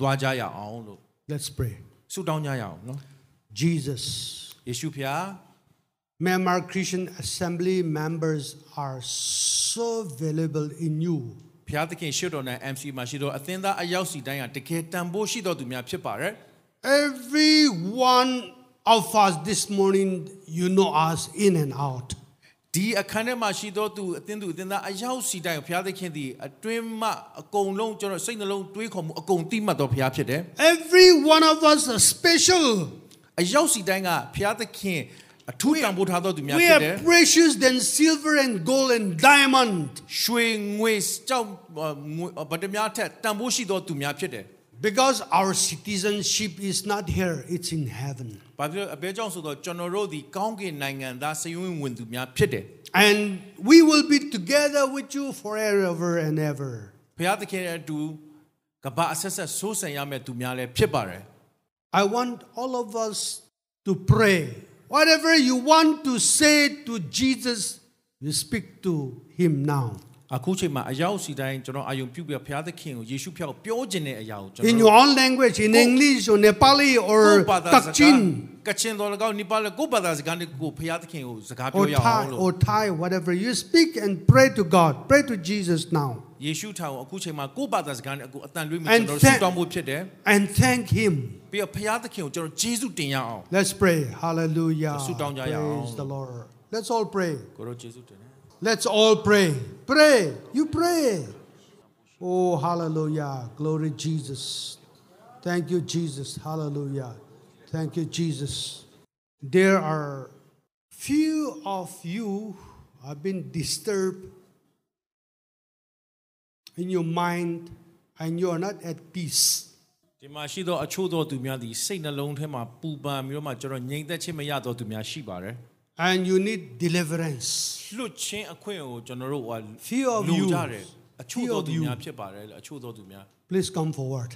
Speaker 4: သွားကြရအောင်လို့
Speaker 3: Let's pray.
Speaker 4: ဆုတောင်းကြရအောင်နော်
Speaker 3: Jesus,
Speaker 4: ယေရှုဖျား
Speaker 3: Myanmar Christian Assembly members are so valuable in you.
Speaker 4: ဘုရားသခင်ရှေ့တော်နိုင် MC မှာရှိတော်အသင်းသားအယောက်စီတိုင်းကတကယ်တန်ဖိုးရှိတော်သူများဖြစ်ပါတယ်
Speaker 3: Every one of us this morning, you know us in and out.
Speaker 4: ဒီအခန်းထဲမှာရှိတော်သူအသင်းသူအသင်းသားအယောက်စီတိုင်းကိုဘုရားသခင်ဒီအတွင်းမှအကုန်လုံးကျွန်တော်စိတ်နှလုံးတွေးခေါ်မှုအကုန်တိမှတ်တော်ဘုရားဖြစ်တယ်
Speaker 3: Every one of us are special.
Speaker 4: အရောက်စီတိုင်းကဘုရားသခင်အထူးတန်ဖိုးထားတော်သူများ
Speaker 3: We
Speaker 4: ဖြစ်တယ်
Speaker 3: are precious than silver and gold and diamond
Speaker 4: ရွှေငွေကြောက်ငွေဗတ္တများထက်တန်ဖိုးရှိတော်သူများဖြစ်တယ်
Speaker 3: because our citizenship is not here, it's in heaven.
Speaker 4: ဘာဖြစ်လို့အဘဲကြောင့်ဆိုတော့ကျွန်တော်တို့ဒီကောင်းကင်နိုင်ငံသားစည်ဝင်ဝင်သူများဖြစ်တယ်
Speaker 3: And we will be together with you forever and ever.
Speaker 4: ဘုရားသခင်နဲ့အတူကမ္ဘာအဆက်ဆက်ဆိုးဆန်ရမယ့်သူများလည်းဖြစ်ပါတယ်
Speaker 3: I want all of us to pray. Whatever you want to say to Jesus, you speak to him now.
Speaker 4: အခုချိန်မှာအရောက်စီတိုင်းကျွန်တော်အာယုံပြုပြီးဘုရားသခင်ကိုယေရှုဖျောက်ပြောခြင်းတဲ့အရာကိုကျွန်
Speaker 3: In
Speaker 4: တော်
Speaker 3: your own language, in English or Nepali
Speaker 4: ကို
Speaker 3: or
Speaker 4: ယ့်ဘာသာစကား
Speaker 3: Takchin
Speaker 4: ကချင်တော်၎င်းနိပါလကိုယ့်ဘာသာစကားနဲ့ကိုဘုရားသခင်ကိုစကား
Speaker 3: or
Speaker 4: ပြောရအောင်
Speaker 3: Thai
Speaker 4: လို့
Speaker 3: or Thai, whatever. You speak and pray to God. Pray to Jesus now
Speaker 4: ယေရှုထံကိုအခုချိန်မှာကိုယ့်ဘာသာစကားနဲ့အခုအတန်လွှင့်မိ
Speaker 3: And
Speaker 4: ကျွန်တော်တို့
Speaker 3: thank-
Speaker 4: ဆုတောင်းဖို့ဖြစ်တယ်
Speaker 3: and thank him.
Speaker 4: ပြီးတော့ဘုရားသခင်ကိုကျွန်တော်ယေရှုတင်ရအောင်
Speaker 3: Let's pray. Hallelujah.
Speaker 4: ဆုတောင်းကြရအောင်.
Speaker 3: Praise the Lord. Let's all pray.
Speaker 4: ကိုရောယေရှုတင်တယ်
Speaker 3: Let's all pray. Pray. You pray. Oh, hallelujah. Glory Jesus. Thank you, Jesus. Hallelujah. Thank you, Jesus. There are few of you have been disturbed in your mind and you are not at peace.
Speaker 4: ဒီမှာရှိသောအချို့သောသူများသည်စိတ်နှလုံးထဲမှာပူပန်မျိုးမှကျွန်တော်ငြိမ်သက်ခြင်းမရသောသူများရှိပါတယ်
Speaker 3: And you need deliverance.
Speaker 4: လွတ်ချင်းအခွင့်ကိုကျွန်တော်တို့ဟို
Speaker 3: Few of
Speaker 4: လူ
Speaker 3: you.
Speaker 4: ကြတယ်အချို့
Speaker 3: Few
Speaker 4: သော
Speaker 3: of
Speaker 4: သူ
Speaker 3: you.
Speaker 4: များဖြစ်ပါတယ်လို့အချို့သောသူများ
Speaker 3: Please come forward.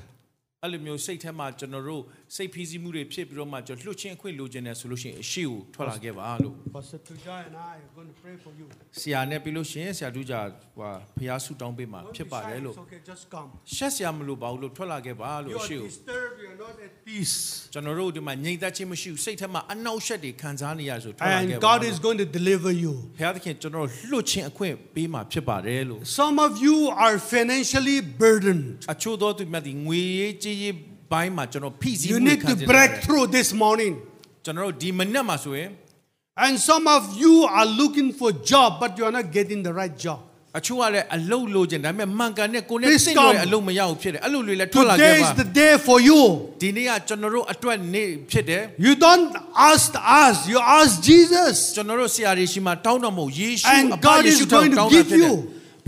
Speaker 4: အဲ့လိုမျိုးစိတ်ထဲမှာကျွန်တော်တို့စိတ်ဖိစီးမှုတွေဖြစ်ပြီးတော့မှကျွန်တော်လွတ်ချင်းအခွင့်လိုချင်တယ်ဆိုလို့ရှိရင်အရှိကိုထွက်လာခဲ့ပါလို့
Speaker 3: Pastor Tuja and I are going to pray for you.
Speaker 4: ဆရာနဲ့ပြီးလို့ရှိရင်ဆရာတူကြဟိုဖျားဆူတောင်းပေးမှာဖြစ်ပါတယ်လို့
Speaker 3: It's okay, just come.
Speaker 4: ရှက်ဆရာမလို့ပါဘူးလို့ထွက်လာခဲ့ပါလို့
Speaker 3: You
Speaker 4: အ
Speaker 3: are
Speaker 4: ရှိကို
Speaker 3: disturbed, you are not at peace.
Speaker 4: ကျွန်တော်တို့ဒီမှာငြိမ်သက်ခြင်းမရှိဘူးစိတ်ထဲမှာအနှောက်အယှက်တွေခံစားနေရဆိုထွက်လာခဲ့
Speaker 3: And
Speaker 4: ပါ
Speaker 3: God is going to deliver you.
Speaker 4: ဘုရားသခင်ကျွန်တော်တို့လွတ်ချင်းအခွင့်ပေးမှာဖြစ်ပါတယ်လို့
Speaker 3: Some of you are financially burdened.
Speaker 4: အချို့သောသူများဒီငွေရေးကြေးရေးပိုင်းမှာကျွန်တော်ဖိစီး
Speaker 3: You
Speaker 4: မှု
Speaker 3: need
Speaker 4: ခံ
Speaker 3: to
Speaker 4: နေတယ်
Speaker 3: break through this morning.
Speaker 4: ကျွန်တော်တို့ဒီမနေ့မှာဆိုရင်
Speaker 3: And some of you are looking for job, but you are not getting the right job.
Speaker 4: အချို့ကလည်းအလုပ်လိုချင်ဒါပေမဲ့မှန်ကန်တဲ့ကိုယ်နဲ့
Speaker 3: Please
Speaker 4: စိတ်တွေ
Speaker 3: come.
Speaker 4: အလုပ်မရဘူးဖြစ်တယ်အဲ့လိုတွေလည်းထွက်လာခဲ့
Speaker 3: Today
Speaker 4: ပါ
Speaker 3: is the day for you.
Speaker 4: ဒီနေ့ကကျွန်တော်တို့အတွက်နေ့ဖြစ်တယ်
Speaker 3: You don't ask us, you ask Jesus.
Speaker 4: ကျွန်တော်တို့ဆရာတွေရှိမှတောင်းတော်မဟုတ်ယေရှု
Speaker 3: And
Speaker 4: အဘ
Speaker 3: God
Speaker 4: ယေ
Speaker 3: is
Speaker 4: ရှုတောင်း
Speaker 3: going to
Speaker 4: တောင်းတာဖြစ်တ
Speaker 3: give
Speaker 4: ယ်
Speaker 3: you.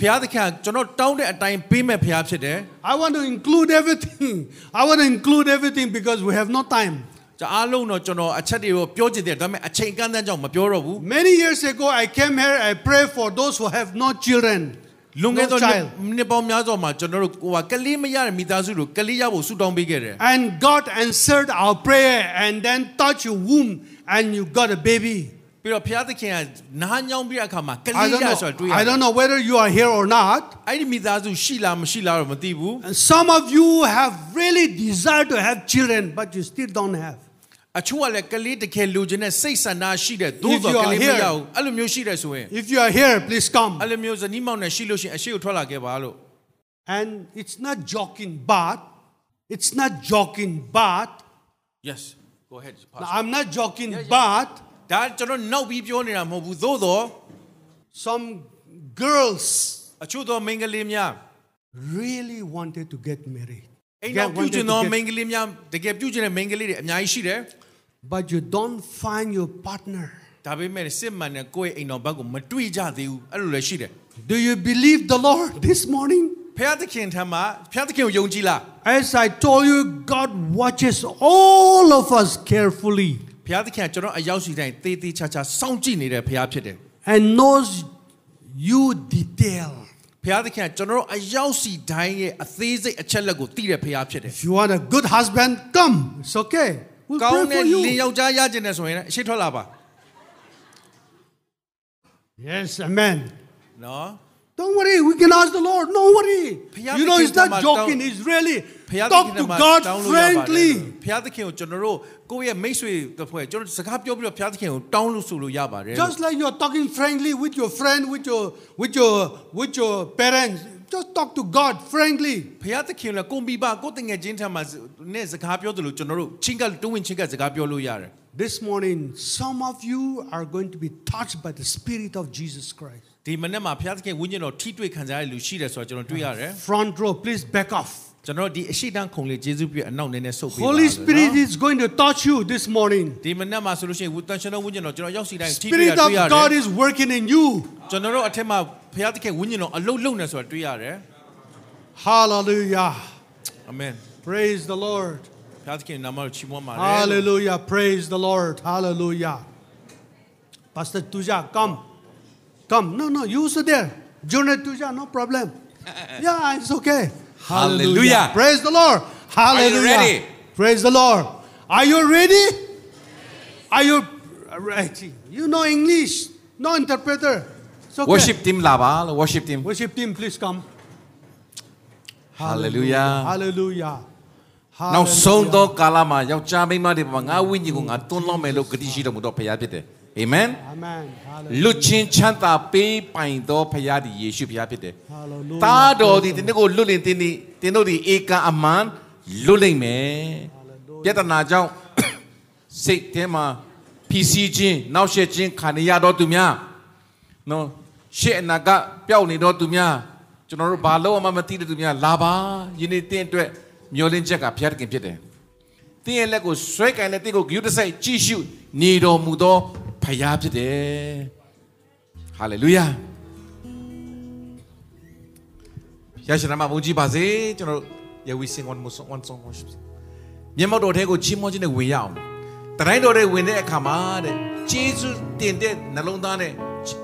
Speaker 4: ဘုရားသခင်ကကျွန်တော်တောင်းတဲ့အတိုင်းပေးမဲ့ဘုရားဖြစ်တယ်
Speaker 3: I want to include everything. *laughs* I want to include everything because we have no time.
Speaker 4: ကျွန်တော်အားလုံးတော့ကျွန်တော်အချက်တွေကိုပြောချင်တယ်ဒါပေမဲ့အချိန်ကန့်သတ်ကြောင့်မပြောတော့ဘူး
Speaker 3: Many years ago, I came here, I pray for those who have no children.
Speaker 4: လွန်ခဲ့
Speaker 3: no
Speaker 4: သောနှစ်
Speaker 3: child.
Speaker 4: နှစ်ပေါင်းများစွာမှာကျွန်တော်တို့ဟိုကကလေးမရတဲ့မိသားစုတို့ကလေးရဖို့ဆူတောင်းပေးခဲ့တယ်
Speaker 3: And God answered our prayer and then touched your womb and you got a baby.
Speaker 4: ပြီးတော့ဘုရားသခင်ကနားညောင်းပြတဲ့အခါမှာက
Speaker 3: I
Speaker 4: လေး
Speaker 3: don't
Speaker 4: ရဆိုတာ
Speaker 3: know,
Speaker 4: တွေ့ရ
Speaker 3: I
Speaker 4: တယ်
Speaker 3: don't know whether you are here or not.
Speaker 4: အဲ့ဒီမိသားစုရှိလားမရှိလားတော့မသိဘူး
Speaker 3: And some of you have really desire to have children, but you still don't have.
Speaker 4: အချို့ကလည်းကလေးတကယ်လိုချင်တဲ့စိတ်ဆန္ဒရှိတဲ့သို့
Speaker 3: If
Speaker 4: သော
Speaker 3: you
Speaker 4: က
Speaker 3: are
Speaker 4: လေးမ
Speaker 3: here-
Speaker 4: ရဘူးအဲ့လိုမျိုးရှိတယ်ဆိုရင်
Speaker 3: If you are here, please come.
Speaker 4: အဲ့လိုမျိုးဇနီးမောင်နဲ့ရှိလို့ရှိရင်အရှိကိုထွက်လာခဲ့ပါလို့
Speaker 3: And it's not joking, but it's not joking, but
Speaker 4: yes go ahead
Speaker 3: now,
Speaker 4: pastor
Speaker 3: I'm not joking,
Speaker 4: yeah.
Speaker 3: but
Speaker 4: ဒါကျွန်တော်နောက်ပြီးပြောနေတာမဟုတ်ဘူးသို့သော
Speaker 3: some girls
Speaker 4: အချို့သောမိန်းကလေးများ
Speaker 3: really wanted to get married.
Speaker 5: အိမ်တော်ပြု
Speaker 3: Get
Speaker 5: ကျင်သော
Speaker 3: wanted to get-
Speaker 5: မိန်းကလေးများတကယ်ပြုကျင်တဲ့မိန်းကလေးတွေအများကြီးရှိတယ်
Speaker 3: but you don't find your partner.
Speaker 5: ဒါပေမဲ့စစ်မှန်တဲ့ကိုယ့်ရဲ့အိမ်တော်ဘက်ကိုမတွေ့ကြသေးဘူးအဲ့လိုလည်းရှိတယ်
Speaker 3: Do you believe the Lord this morning?
Speaker 5: ဖျားသခင်ထံမှာဖျားသခင်ကိုယုံကြည်လား
Speaker 3: As I told you, God watches all of us carefully
Speaker 5: ဖျားသခင်ကကျွန်တော်အရောက်ရှိတိုင်းတေးသေးချာချာစောင့်ကြည့်နေတဲ့ဖျားဖြစ်တယ်
Speaker 3: and knows you detail.
Speaker 5: ဖျားသခင်ကကျွန်တော်အရောက်ရှိတိုင်းရဲ့အသေးစိတ်အချက်လက်ကိုသိတဲ့ဖျားဖြစ်တယ်
Speaker 3: If you want a good husband, come. It's okay. We'll
Speaker 5: ကောင်း
Speaker 3: pray
Speaker 5: တဲ့
Speaker 3: for
Speaker 5: လင်
Speaker 3: you.
Speaker 5: ယောက်ျားရကျင်တယ်ဆိုရင်လည်းအရှိထွက်လာပါ
Speaker 3: Yes, amen.
Speaker 5: နော်
Speaker 3: Don't worry, we can ask the Lord. No worry.
Speaker 5: Phayat
Speaker 3: You know,
Speaker 5: ke
Speaker 3: he's not
Speaker 5: nama
Speaker 3: joking,
Speaker 5: tau-
Speaker 3: he's really.
Speaker 5: ဖျားသခင်
Speaker 3: Talk
Speaker 5: က
Speaker 3: to
Speaker 5: မှ
Speaker 3: God
Speaker 5: တောင်းလို့ရပါတယ်
Speaker 3: frankly.
Speaker 5: ဖျားသခင်ကိုကျွန်တော်တို့ကိုယ့်ရဲ့မိတ်ဆွေတစ်ဖွဲ့ကျွန်တော်စကားပြောပြီးတော့ဖျားသခင်ကိုတောင်းလို့ဆိုလို့ရပါတယ်
Speaker 3: Just like you're talking frankly with your friend, with your, with your, with your parents. Just talk to God frankly.
Speaker 5: ဖျားသခင်လည်းကိုမိဘကိုတငယ်ချင်းထံမှာနဲ့စကားပြောတယ်လို့ကျွန်တော်တို့ချင်းကတွင်းချင်းကစကားပြောလို့ရတယ်
Speaker 3: This morning, some of you are going to be touched by the Spirit of Jesus Christ.
Speaker 5: ဒီမနေ့မှာဖျားသခင်ဝိညာဉ်တော်ထိတွေ့ခံစားရတဲ့လူရှိတယ်ဆိုတော့ကျွန်တော်တွေ့ရတယ်
Speaker 3: Front row, please back off.
Speaker 5: ကျွန်တော်ဒီအရှိတန်းခုံလေးဂျေစုပြည့်အနောက်နည်းနည်းဆုပ်ပေးပါ
Speaker 3: Holy
Speaker 5: နော်
Speaker 3: Spirit is going to touch you this morning.
Speaker 5: ဒီမနေ့မှာဆိုလို့ရှိရင်ဝတန်ရှင်တော်ဝိညာဉ်တော်ကျွန်တော်ရောက်စီတိုင်းထိတွေ့ရ
Speaker 3: Spirit
Speaker 5: တ
Speaker 3: of
Speaker 5: တွေ့ရတယ်
Speaker 3: God is working in you.
Speaker 5: ကျွန်တော်တို့အထက်မှာဖျားသခင်ဝိညာဉ်တော်အလုတ်လုံနေဆိုတာတွေ့ရတယ်
Speaker 3: Hallelujah.
Speaker 5: အာမင်
Speaker 3: Praise the Lord.
Speaker 5: ဖျားသခင်နာမတော်ချီးမွမ်းပါတယ်
Speaker 3: Hallelujah. Praise the Lord. Hallelujah. Pastor Tuja, come. Come. No, no, you sit there. Junior Tuja, no
Speaker 4: *laughs*
Speaker 3: problem. Yeah, it's okay.
Speaker 4: Hallelujah.
Speaker 3: Praise the Lord. Hallelujah.
Speaker 4: ready?
Speaker 3: Praise the Lord. Are you ready? Are you ready? You know English, no interpreter. It's okay.
Speaker 4: worship team လာပါလို့ worship team
Speaker 3: Worship team, please come.
Speaker 4: Hallelujah.
Speaker 3: Hallelujah.
Speaker 4: နောက်ဆုံးသော
Speaker 3: Hallelujah.
Speaker 4: ကာလမှာယောက်ျားမိန်းမတွေပေါ်မှာငါဝိညာဉ်ကိုငါတွန်းလောင်းမယ်လို့ကတိရှိတော်မူသောဘုရားဖြစ်တယ် Amen
Speaker 3: Amen. Hallelujah.
Speaker 4: လွတ်ချင်းချမ်းသာပေးပိုင်သောဘုရားသည်ယေရှုဘုရားဖြစ်တယ်။သား
Speaker 3: Hallelujah.
Speaker 4: တော်သည်တင်းတို့ကိုလွတ်လင်တင်းသည်တင်းတို့သည်ဧကန်အမှန်လွတ်လိမ့်မယ်။ပြတနာကြောင့် *coughs* စိတ်ထဲမှာဖြစ်စီခြင်းနောက်ဆက်ခြင်းခံရတော်သူများနော်ရှေ့အနာကပျောက်နေတော်သူများကျွန်တော်တို့ဘာလို့မှမသိတဲ့သူများလာပါယနေ့တင်းအတွက်မျောလင်းချက်ကဘုရားသခင်ဖြစ်တယ်။တင်းရဲ့လက်ကိုဆွဲကင်တဲ့တင်းကိုဂရုတစိုက်ကြည့်ရှုနေတော်မူသောဘုရားဖြစ်တယ်။ hallelujah ရရှိနာမဘုန်းကြီးပါစေကျွန်တော်တို့ယေဝီစင်ဝန်မဆွန်ဝန်ဆွန်ကိုရှိမြတ်မောက်တော်ထဲကိုချီးမွမ်းခြင်းနဲ့ဝင်ရအောင်တတိုင်းတော်ထဲဝင်တဲ့အခါမှာတဲ့ဂျေစုတင်တဲ့နှလုံးသားနဲ့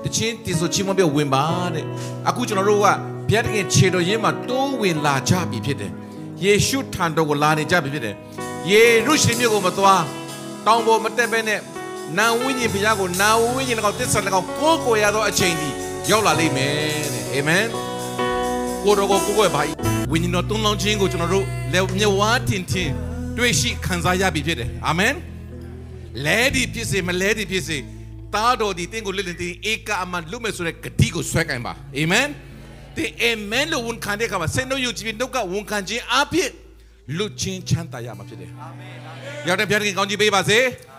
Speaker 4: တခြင်းတင်ဆိုချီးမွမ်းပြီးဝင်ပါတဲ့အခုကျွန်တော်တို့ကဘုရားတခင်ခြေတော်ရင်းမှာတိုးဝင်လာကြပြီဖြစ်တယ်ယေရှုထံတော်ကိုလာနေကြပြီဖြစ်တယ်ယေရုရှလင်မြို့ကိုမသွားတောင်ပေါ်မတက်ဘဲနဲ့နာဝိညာဉ်ဘုရားကိုနာဝိညာဉ်ကောင်တစ္ဆာကောင်ကိုယ်ကိုယ်ရသောအချိန်ဒီရောက်လာလိမ့်မယ်တဲ့အာမင် ကိုတော်ကိုကိုကိုယ့်ရဲ့ဘာဝိညာဉ်တော်တုံးလောင်းခြင်းကိုကျွန်တော်တို့လက်မြဝါတင်တင်တွေ့ရှိခံစားရပြီဖြစ်တယ်အာမင်လဲဒီဖြစ်စေမလဲဒီဖြစ်စေတားတော်ဒီတင်းကိုလစ်လင်တင်းဧကအမန်လွတ်မယ်ဆိုတဲ့ဂတိကိုဆွဲကင်ပါအာမင်တင်းအာမင်လို့ဝန်ခံတဲ့အခါမှာစေနှုတ်ယုံကြည်ပြီးနှုတ်ကဝန်ခံခြင်းအဖြစ်လွတ်ခြင်းချမ်းသာရမှာဖြစ်တယ်အာမင်ရောက်တဲ့ဘုရားသခင်ကောင်းကြီးပေးပါစေအာ